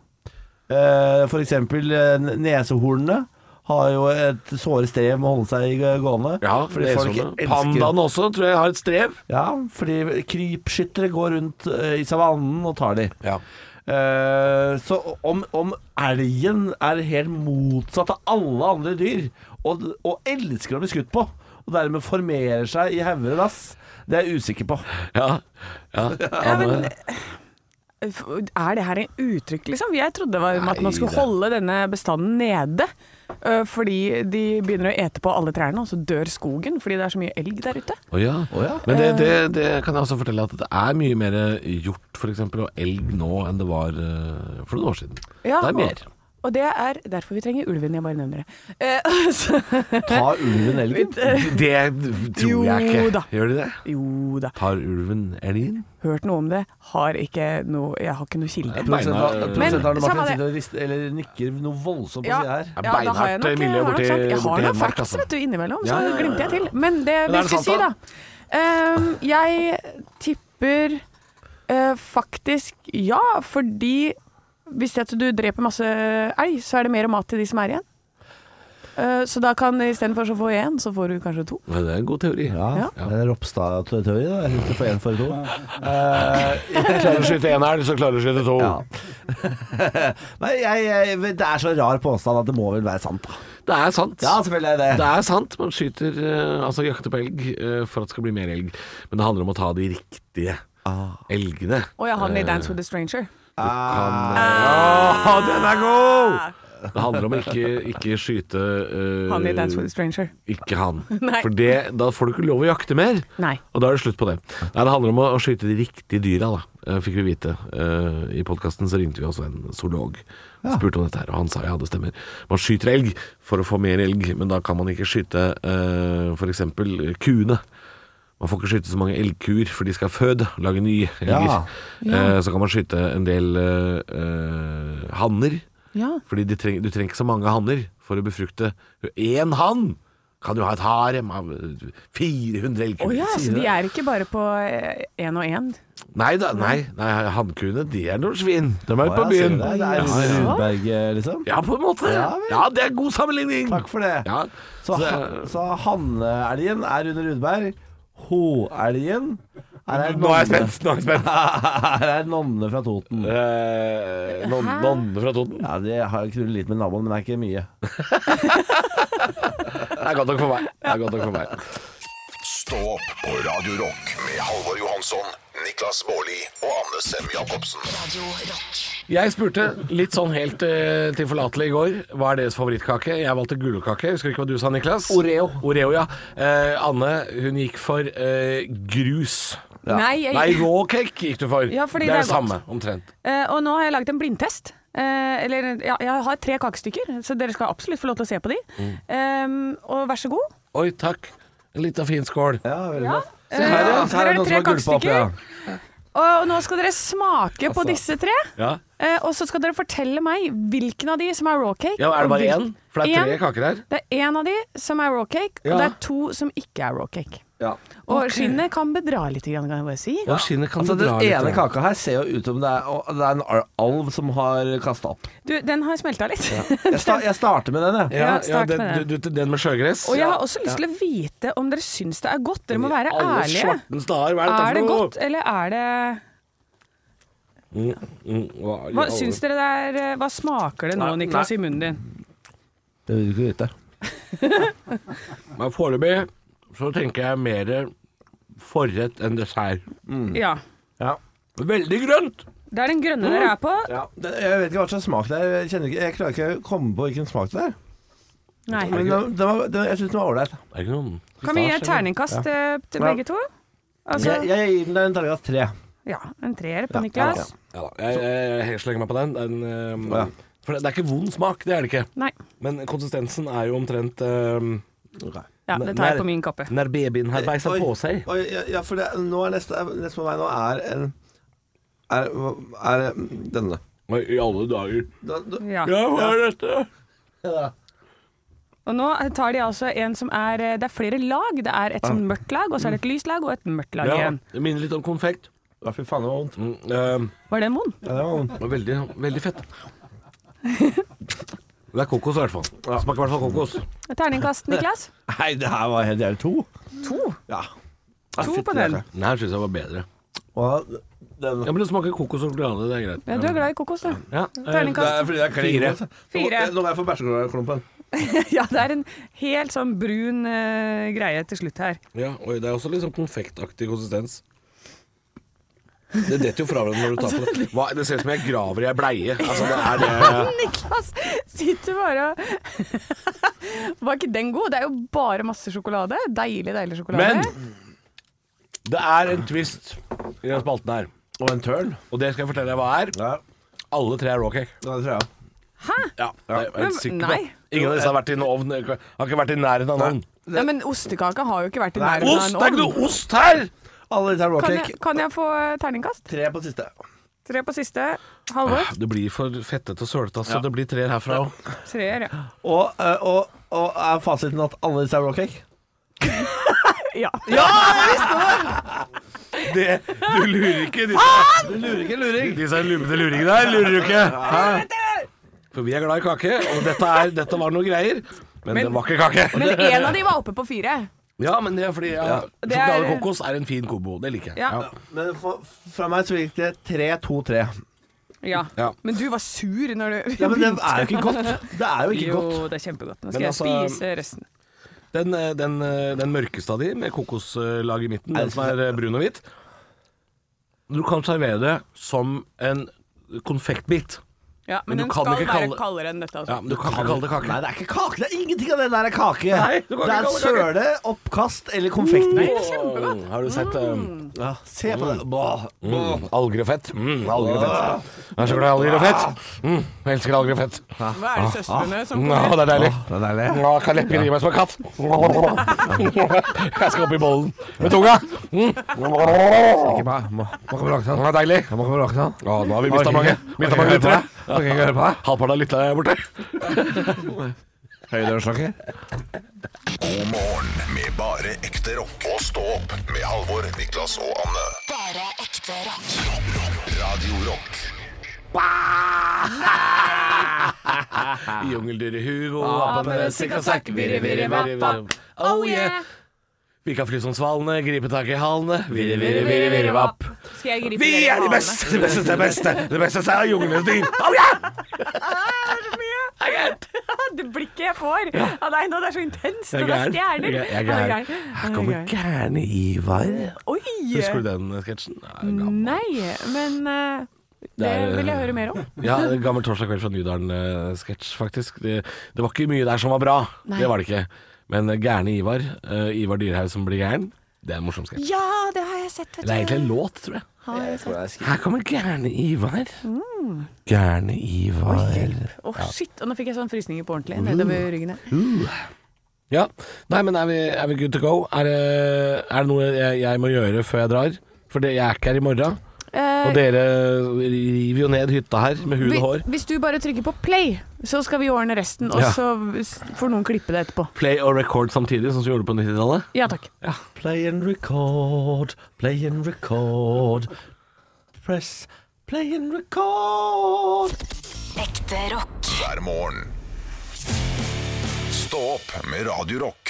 Speaker 5: Eh, For eksempel ø, n- nesehornene har jo et såre strev med å holde seg ø, gående. fordi folk elsker-
Speaker 3: Pandaen også, tror jeg har et strev.
Speaker 5: Ja, fordi krypskyttere går rundt ø, i savannen og tar de.
Speaker 3: Ja.
Speaker 5: Eh, Så om, om elgen er helt motsatt av alle andre dyr, og, og elsker å bli skutt på, og dermed formerer seg i hauger og lass, det er jeg usikker på.
Speaker 3: Ja, ja.
Speaker 4: Ja, men, er det her en uttrykk, liksom? Jeg trodde det var om at man skulle holde denne bestanden nede. øh, Fordi de begynner å ete på alle trærne, og så dør skogen fordi det er så mye elg der ute.
Speaker 3: Å ja.
Speaker 5: Å ja.
Speaker 3: Men det, det,
Speaker 4: Eh.
Speaker 3: det kan jeg også fortelle at det er mye mer hjort for eksempel, og elg nå enn det var eh, for noen år siden.
Speaker 4: Ja,
Speaker 3: det er mer.
Speaker 4: Og, og det er derfor vi trenger ulven. Jeg bare nevner det. Eh, så-
Speaker 5: Ta ulven elgen.
Speaker 3: Det tror jeg ikke.
Speaker 4: Jo da.
Speaker 3: Gjør de det?
Speaker 4: jo da,
Speaker 3: Har ulven elgen?
Speaker 4: hørt noe om det. Har ikke noe Jeg har ikke noe kilde.
Speaker 5: Produsent
Speaker 3: Men,
Speaker 5: Martin
Speaker 4: samme det.
Speaker 5: sitter og rister, eller nikker noe voldsomt på sida her.
Speaker 3: er
Speaker 4: ja, da har jeg
Speaker 3: beinhardt
Speaker 4: nok,
Speaker 3: miljø
Speaker 4: jeg har
Speaker 3: borti-
Speaker 4: nok sagt- Jeg
Speaker 3: borti
Speaker 4: har noe
Speaker 3: Hedmark,
Speaker 4: facts
Speaker 3: altså.
Speaker 4: vet du, innimellom, så
Speaker 3: Ja, ja, ja,
Speaker 4: glemte jeg til. Men det
Speaker 3: Men er
Speaker 4: vi
Speaker 3: det
Speaker 4: skal si,
Speaker 3: sant,
Speaker 4: da ehm, Jeg tipper eh, faktisk ja, fordi hvis det at du dreper masse elg, så er det mer mat til de som er igjen. Eh, så da kan istedenfor så få én, så får du kanskje to.
Speaker 3: Men det er en god teori.
Speaker 5: Ja, det er Ropstad-teori. da. Jeg husker for én for to.
Speaker 3: Klarer du å skyte én elg, så klarer du å skyte to.
Speaker 5: Nei, jeg, jeg, det er så rar påstand at det må vel være sant, da.
Speaker 3: Det er sant.
Speaker 4: altså.
Speaker 5: Ja, selvfølgelig er det
Speaker 3: Det er sant. Man skyter eh, altså jakter på elg eh, for at det skal bli mer elg. Men det handler om å ta de riktige
Speaker 4: Ah.
Speaker 3: elgene.
Speaker 4: Og jeg har den i Dance with a Stranger.
Speaker 3: Å, den er god! Det handler om å ikke, ikke skyte eh,
Speaker 4: Han i Dance with a Stranger.
Speaker 3: Ikke han.
Speaker 4: Nei.
Speaker 3: For det, da får du ikke lov å jakte mer.
Speaker 4: Nei.
Speaker 3: Og da er det slutt på det. Nei, det handler om å, å skyte de riktige dyra, da, eh, fikk vi vite. Eh, I podkasten så ringte vi også en zoolog. Spurte om dette her, og han sa ja, det stemmer. Man skyter elg for å få mer elg, men da kan man ikke skyte eh, for f.eks. kuene. Man får ikke skyte så mange elgkuer, for de skal føde, lage nye elger.
Speaker 5: Ja.
Speaker 3: Eh, så kan man skyte en del eh, eh, hanner.
Speaker 4: Ja.
Speaker 3: Fordi de treng, du trenger ikke så mange hanner for å befrukte én hann. Kan du ha et harem av eh, 400
Speaker 4: Å
Speaker 3: elgkuer?
Speaker 4: ja, så de er ikke bare på én og én.
Speaker 3: Nei da, nei, nei hannkuene de er noen svin. De er ute
Speaker 5: Å,
Speaker 3: på
Speaker 5: jeg ser
Speaker 3: byen.
Speaker 5: Det Det er
Speaker 3: Ja, ja.
Speaker 5: Rudberg, liksom.
Speaker 3: ja, på en måte.
Speaker 5: Ja,
Speaker 3: Ja,
Speaker 5: vel.
Speaker 3: det er god sammenligning.
Speaker 5: Takk for det.
Speaker 3: Ja.
Speaker 5: Så, han- så hannelgen er under Rudberg. Hoelgen Her er
Speaker 3: Nå er jeg
Speaker 5: nonne.
Speaker 3: spent. Nå er jeg spent.
Speaker 5: Her er nonne fra Toten.
Speaker 3: Eh, non- Nonne fra Toten.
Speaker 5: Ja, Det har jeg krullet litt med naboen, men det er ikke mye.
Speaker 3: Det er godt nok for meg. Det er godt nok for meg.
Speaker 2: Stå opp på Radio Rock med Halvor Johansson, Niklas Baarli og Anne Sem Jacobsen.
Speaker 1: Radio Rock.
Speaker 3: Jeg spurte litt sånn helt eh, tilforlatelig i går hva er deres favorittkake. Jeg valgte gulrøttkake. Husker du ikke hva du sa, Niklas? Oreo. Oreo, ja. Eh, Anne hun gikk for eh, grus.
Speaker 4: Nei, jeg-
Speaker 3: Nei, raw cake gikk du for.
Speaker 4: Ja, fordi
Speaker 3: det er
Speaker 4: det er
Speaker 3: samme, omtrent.
Speaker 4: Eh, og nå har jeg laget en blindtest. Eh, eller ja, jeg har tre kakestykker, så dere skal absolutt få lov til å se på de.
Speaker 5: Mm.
Speaker 4: Eh, og vær så god.
Speaker 3: Oi, takk. En liten fin skål.
Speaker 5: Ja, veldig bra. Se her,
Speaker 4: Eh,
Speaker 5: ja.
Speaker 4: her
Speaker 5: Her er
Speaker 4: er
Speaker 5: det noen
Speaker 4: tre
Speaker 5: som har gulpa opp. Ja. Altså.
Speaker 4: kakestykker. Og nå skal dere smake på disse tre.
Speaker 3: Ja.
Speaker 4: Eh, og så skal dere fortelle meg hvilken av de som er raw cake.
Speaker 3: Ja, Er det
Speaker 4: og
Speaker 3: bare
Speaker 4: hvil-
Speaker 3: én? For det er tre
Speaker 4: Én.
Speaker 3: kaker her.
Speaker 4: Det er én av de som er raw cake,
Speaker 3: Ja.
Speaker 4: og det er to som ikke er raw cake.
Speaker 5: Ja.
Speaker 4: Og skinnet kan bedra litt, grann, kan jeg bare si.
Speaker 5: Ja.
Speaker 3: skinnet kan
Speaker 5: altså,
Speaker 3: du dra
Speaker 5: Den
Speaker 3: litt,
Speaker 5: ene
Speaker 3: ja.
Speaker 5: kaka her ser jo ut som det er, og det er en al- alv som har kasta opp.
Speaker 4: Du, den har smelta litt.
Speaker 5: Jeg, sta, jeg starter med den, jeg.
Speaker 3: Ja,
Speaker 4: Ja,
Speaker 3: ja
Speaker 4: start
Speaker 3: den,
Speaker 4: med
Speaker 3: du, du, den med sjøgress.
Speaker 4: Og jeg har også lyst til å vite om dere syns det er godt. Dere må være
Speaker 3: Alle
Speaker 4: ærlige.
Speaker 3: svartens dager, hva er dette
Speaker 4: Er det
Speaker 3: for noe?
Speaker 4: godt, eller er det
Speaker 3: Mm, hva, i
Speaker 4: Hva
Speaker 3: alle-
Speaker 4: syns dere det er eh, Hva smaker det nå,
Speaker 5: Nei, nei.
Speaker 4: Niklas, i munnen din?
Speaker 5: Det vil du ikke vite.
Speaker 3: Men foreløpig så tenker jeg mer forrett enn dessert.
Speaker 4: Ja.
Speaker 5: Ja.
Speaker 3: Veldig grønt!
Speaker 4: Det er den grønne dere er på.
Speaker 5: Ja. Det, jeg vet ikke hva slags smak det er. Jeg, kjenner ikke, jeg klarer ikke å komme på hvilken smak det er.
Speaker 4: Nei.
Speaker 5: Men den, den var, den, jeg syns den var ålreit.
Speaker 3: Det er ikke noen
Speaker 4: Kan vi gi et
Speaker 3: pistasje, eller?
Speaker 4: terningkast eh, til
Speaker 5: Ja.
Speaker 4: begge to? Altså,
Speaker 5: Jeg, jeg gir den en terningkast tre.
Speaker 4: ja, en treer
Speaker 5: Ja,
Speaker 4: på Niklas.
Speaker 3: Ja, da. jeg, jeg, jeg slenger meg på den. den ehm,
Speaker 5: Ja.
Speaker 3: For det, det er ikke vond smak, det er det ikke.
Speaker 4: Nei.
Speaker 3: Men konsistensen er jo omtrent ehm,
Speaker 4: Ja, det tar jeg på min kappe.
Speaker 3: Når babyen har beisa
Speaker 5: Oi,
Speaker 3: på seg.
Speaker 5: Oi, ja, ja, for det, nå er neste, neste på meg nå er en er, er denne.
Speaker 3: Oi, I alle dager.
Speaker 5: Da- da-
Speaker 4: Ja.
Speaker 3: Ja, hva er dette?
Speaker 4: Og nå tar de altså en som er eh, Det er flere lag. Det er et sånn mørkt lag, og så er det et lyst lag og et mørkt lag
Speaker 3: Ja,
Speaker 4: igjen.
Speaker 3: det minner litt om konfekt.
Speaker 5: Ja, fy faen, det var vondt.
Speaker 3: Mm, ehm,
Speaker 4: Var den vond?
Speaker 5: Ja, det var vondt.
Speaker 3: og veldig, veldig fett. Det er kokos i hvert fall. Smaker i hvert fall kokos.
Speaker 4: Terningkast, Niklas?
Speaker 5: Nei, det her var helt jævlig. To.
Speaker 4: To.
Speaker 5: Ja.
Speaker 4: To
Speaker 5: fytti
Speaker 4: på den.
Speaker 5: rakkeren.
Speaker 3: Den her syns jeg var bedre.
Speaker 5: Og den
Speaker 3: Ja, men Det smaker kokos og sjokolade, det er greit.
Speaker 4: Ja, du er glad i kokos, du.
Speaker 3: Ja, eh,
Speaker 5: Det er
Speaker 4: Terningkast
Speaker 5: fordi det er klin
Speaker 3: Fire.
Speaker 5: godt.
Speaker 4: Fire.
Speaker 5: Nå må jeg få bæsjeklumpen.
Speaker 4: Ja, det er en helt sånn brun eh, greie til slutt her.
Speaker 3: ja, oi, det er også litt sånn konfektaktig konsistens. Det detter jo fra hverandre når du tar på det. Hva, det ser ut som jeg graver i ei bleie. Altså, det er det
Speaker 4: Niklas sitter bare og Var ikke den god? Det er jo bare masse sjokolade. Deilig, deilig sjokolade.
Speaker 3: Men det er en twist i den spalten her.
Speaker 5: Og en tørn.
Speaker 3: Og det skal jeg fortelle deg hva er.
Speaker 5: Ja,
Speaker 3: Alle tre er raw cake.
Speaker 5: det tror jeg.
Speaker 3: Ja, det er jeg helt
Speaker 4: Men-
Speaker 3: sikker på.
Speaker 4: nei.
Speaker 3: Ingen av disse har vært i en ovn. Har ikke vært i nærheten av en ovn.
Speaker 4: ja, men ostekaka har jo ikke vært i
Speaker 5: Nei,
Speaker 4: nærheten av
Speaker 3: Ost!
Speaker 4: en
Speaker 3: Det er ikke
Speaker 4: ovn.
Speaker 3: noe ost her!
Speaker 5: Alle disse er raw
Speaker 4: Kan
Speaker 5: cake.
Speaker 4: jeg, kan jeg få terningkast?
Speaker 5: Tre på siste.
Speaker 4: Tre på siste. Halvor.
Speaker 3: Det blir for fettete og sølete, så det blir treer herfra òg.
Speaker 4: Treer, ja.
Speaker 5: Og, eh, og, og er fasiten at alle disse er raw cake?
Speaker 4: ja.
Speaker 3: Det, du lurer ikke. Faen! Du lurer ikke luring. Disse lubne luringene her lurer du ikke. Hæ? For vi er glad i kake, og dette, er, dette var noe greier. Men, det var ikke kake.
Speaker 4: Men én av de var oppe på fire.
Speaker 3: Ja, men det er fordi ja,
Speaker 4: Det er-
Speaker 3: sjokolade og kokos er en fin kombo. Det liker jeg.
Speaker 4: Ja.
Speaker 5: Men for, fra meg så gikk det tre, to, tre.
Speaker 4: Ja.
Speaker 3: Ja.
Speaker 4: Men du var sur når du
Speaker 5: Ja, men det er jo ikke godt. Det er jo ikke
Speaker 4: Jo,
Speaker 5: godt.
Speaker 4: det er kjempegodt. Nå
Speaker 3: Men
Speaker 4: skal jeg
Speaker 3: altså-
Speaker 4: spise resten.
Speaker 3: Den, eh, den, eh, den mørkeste av de, med kokoslag i midten,
Speaker 5: Er
Speaker 3: den
Speaker 5: det
Speaker 3: som er eh, brun og hvit Du kan servere det som en konfektbit.
Speaker 4: Ja, men,
Speaker 3: Men du
Speaker 4: den
Speaker 3: kan
Speaker 4: skal være
Speaker 3: ikke kalle-
Speaker 4: kaldere enn dette. Altså.
Speaker 3: Ja, men du kan ikke kalle det kake.
Speaker 5: Nei, det er ikke kake. Det er ingenting av det der er kake.
Speaker 3: Nei, du kan ikke
Speaker 5: det er
Speaker 3: kalle det kake.
Speaker 5: søle, oppkast eller konfektbit.
Speaker 3: Mm, har du sett eh,
Speaker 5: Ja, se på det. Bah.
Speaker 3: Mm, alger og fett. Mm, alger og fett. Jeg er så glad i alger og fett. Mm, jeg elsker alger og fett.
Speaker 4: Hva er det søstrene som
Speaker 3: Nå, det er deilig.
Speaker 5: Det er deilig.
Speaker 3: Nå kan leppene gi meg som en katt. Jeg skal opp i bollen med tunga. Mm.
Speaker 5: Ikke meg. Må, må komme langt an.
Speaker 3: Det er deilig.
Speaker 5: Jeg må komme langt an.
Speaker 3: Å, nå har vi mista mange. Mista mange lyttere.
Speaker 5: Kan ikke høre på deg.
Speaker 3: Halvparten av lytterne er borte.
Speaker 5: Høydørslager.
Speaker 2: God morgen med bare ekte rock. Og stå opp med Halvor, Niklas og Anne.
Speaker 1: Bare ekte rock.
Speaker 2: Rock, rock, Radio Rock.
Speaker 3: Jungeldyret Hugo, apene sikk og sakk, virre, virre, virre, virre. Oh yeah. Vi kan fly som svalene, gripe tak i halene. Virre, virre, virre, virre, vapp.
Speaker 4: Skal jeg gripe
Speaker 3: Vi
Speaker 4: dere i
Speaker 3: er de
Speaker 4: halene?
Speaker 3: beste, de beste, de beste. De beste sa junglenes dyr. Oh yeah!
Speaker 4: Jeg er gæren. Det blikket jeg får av deg nå, det er så intenst. Og det er stjerner.
Speaker 3: Jeg er
Speaker 4: Ja,
Speaker 3: gæren. Her kommer gærne Ivar.
Speaker 4: Oi!
Speaker 3: Husker du den eh, sketsjen? Nei, gammel.
Speaker 4: Nei, men eh, det eh,
Speaker 3: er-
Speaker 4: vil jeg høre mer om.
Speaker 3: Ja, gammel torsdag kveld fra Nydalen-sketsj, faktisk. Det, det var ikke mye der som var bra. Det var det ikke. Men gærne Ivar, eh, Ivar Dyrhaug som blir gæren, det er en morsom sketsj.
Speaker 4: Ja, det har jeg sett.
Speaker 3: Det er egentlig en låt, tror jeg.
Speaker 4: Å,
Speaker 3: Her kommer gærne Ivar.
Speaker 4: Mm.
Speaker 3: Gærne Ivar.
Speaker 4: shit. Og nå fikk jeg sånn frysninger på ordentlig Mm. nedover ryggen. her.
Speaker 3: Ja. Nei, men er vi, er eh, vi good to go? Er, det- er det noe jeg, jeg må gjøre før jeg drar? For det, jeg er ikke her i morgen.
Speaker 4: Eh,
Speaker 3: Og dere river jo ned hytta her med hud og hår.
Speaker 4: vi- Hvis du bare trykker på play, så skal vi ordne resten, og
Speaker 3: Ja.
Speaker 4: så s- får noen klippe det etterpå.
Speaker 3: Play og record samtidig, sånn som vi gjorde på 90-tallet.
Speaker 4: Ja takk.
Speaker 5: Play and record, play and record. Press play and record.
Speaker 1: Ekte rock.
Speaker 2: hver morgen. Stå opp med Radio Rock.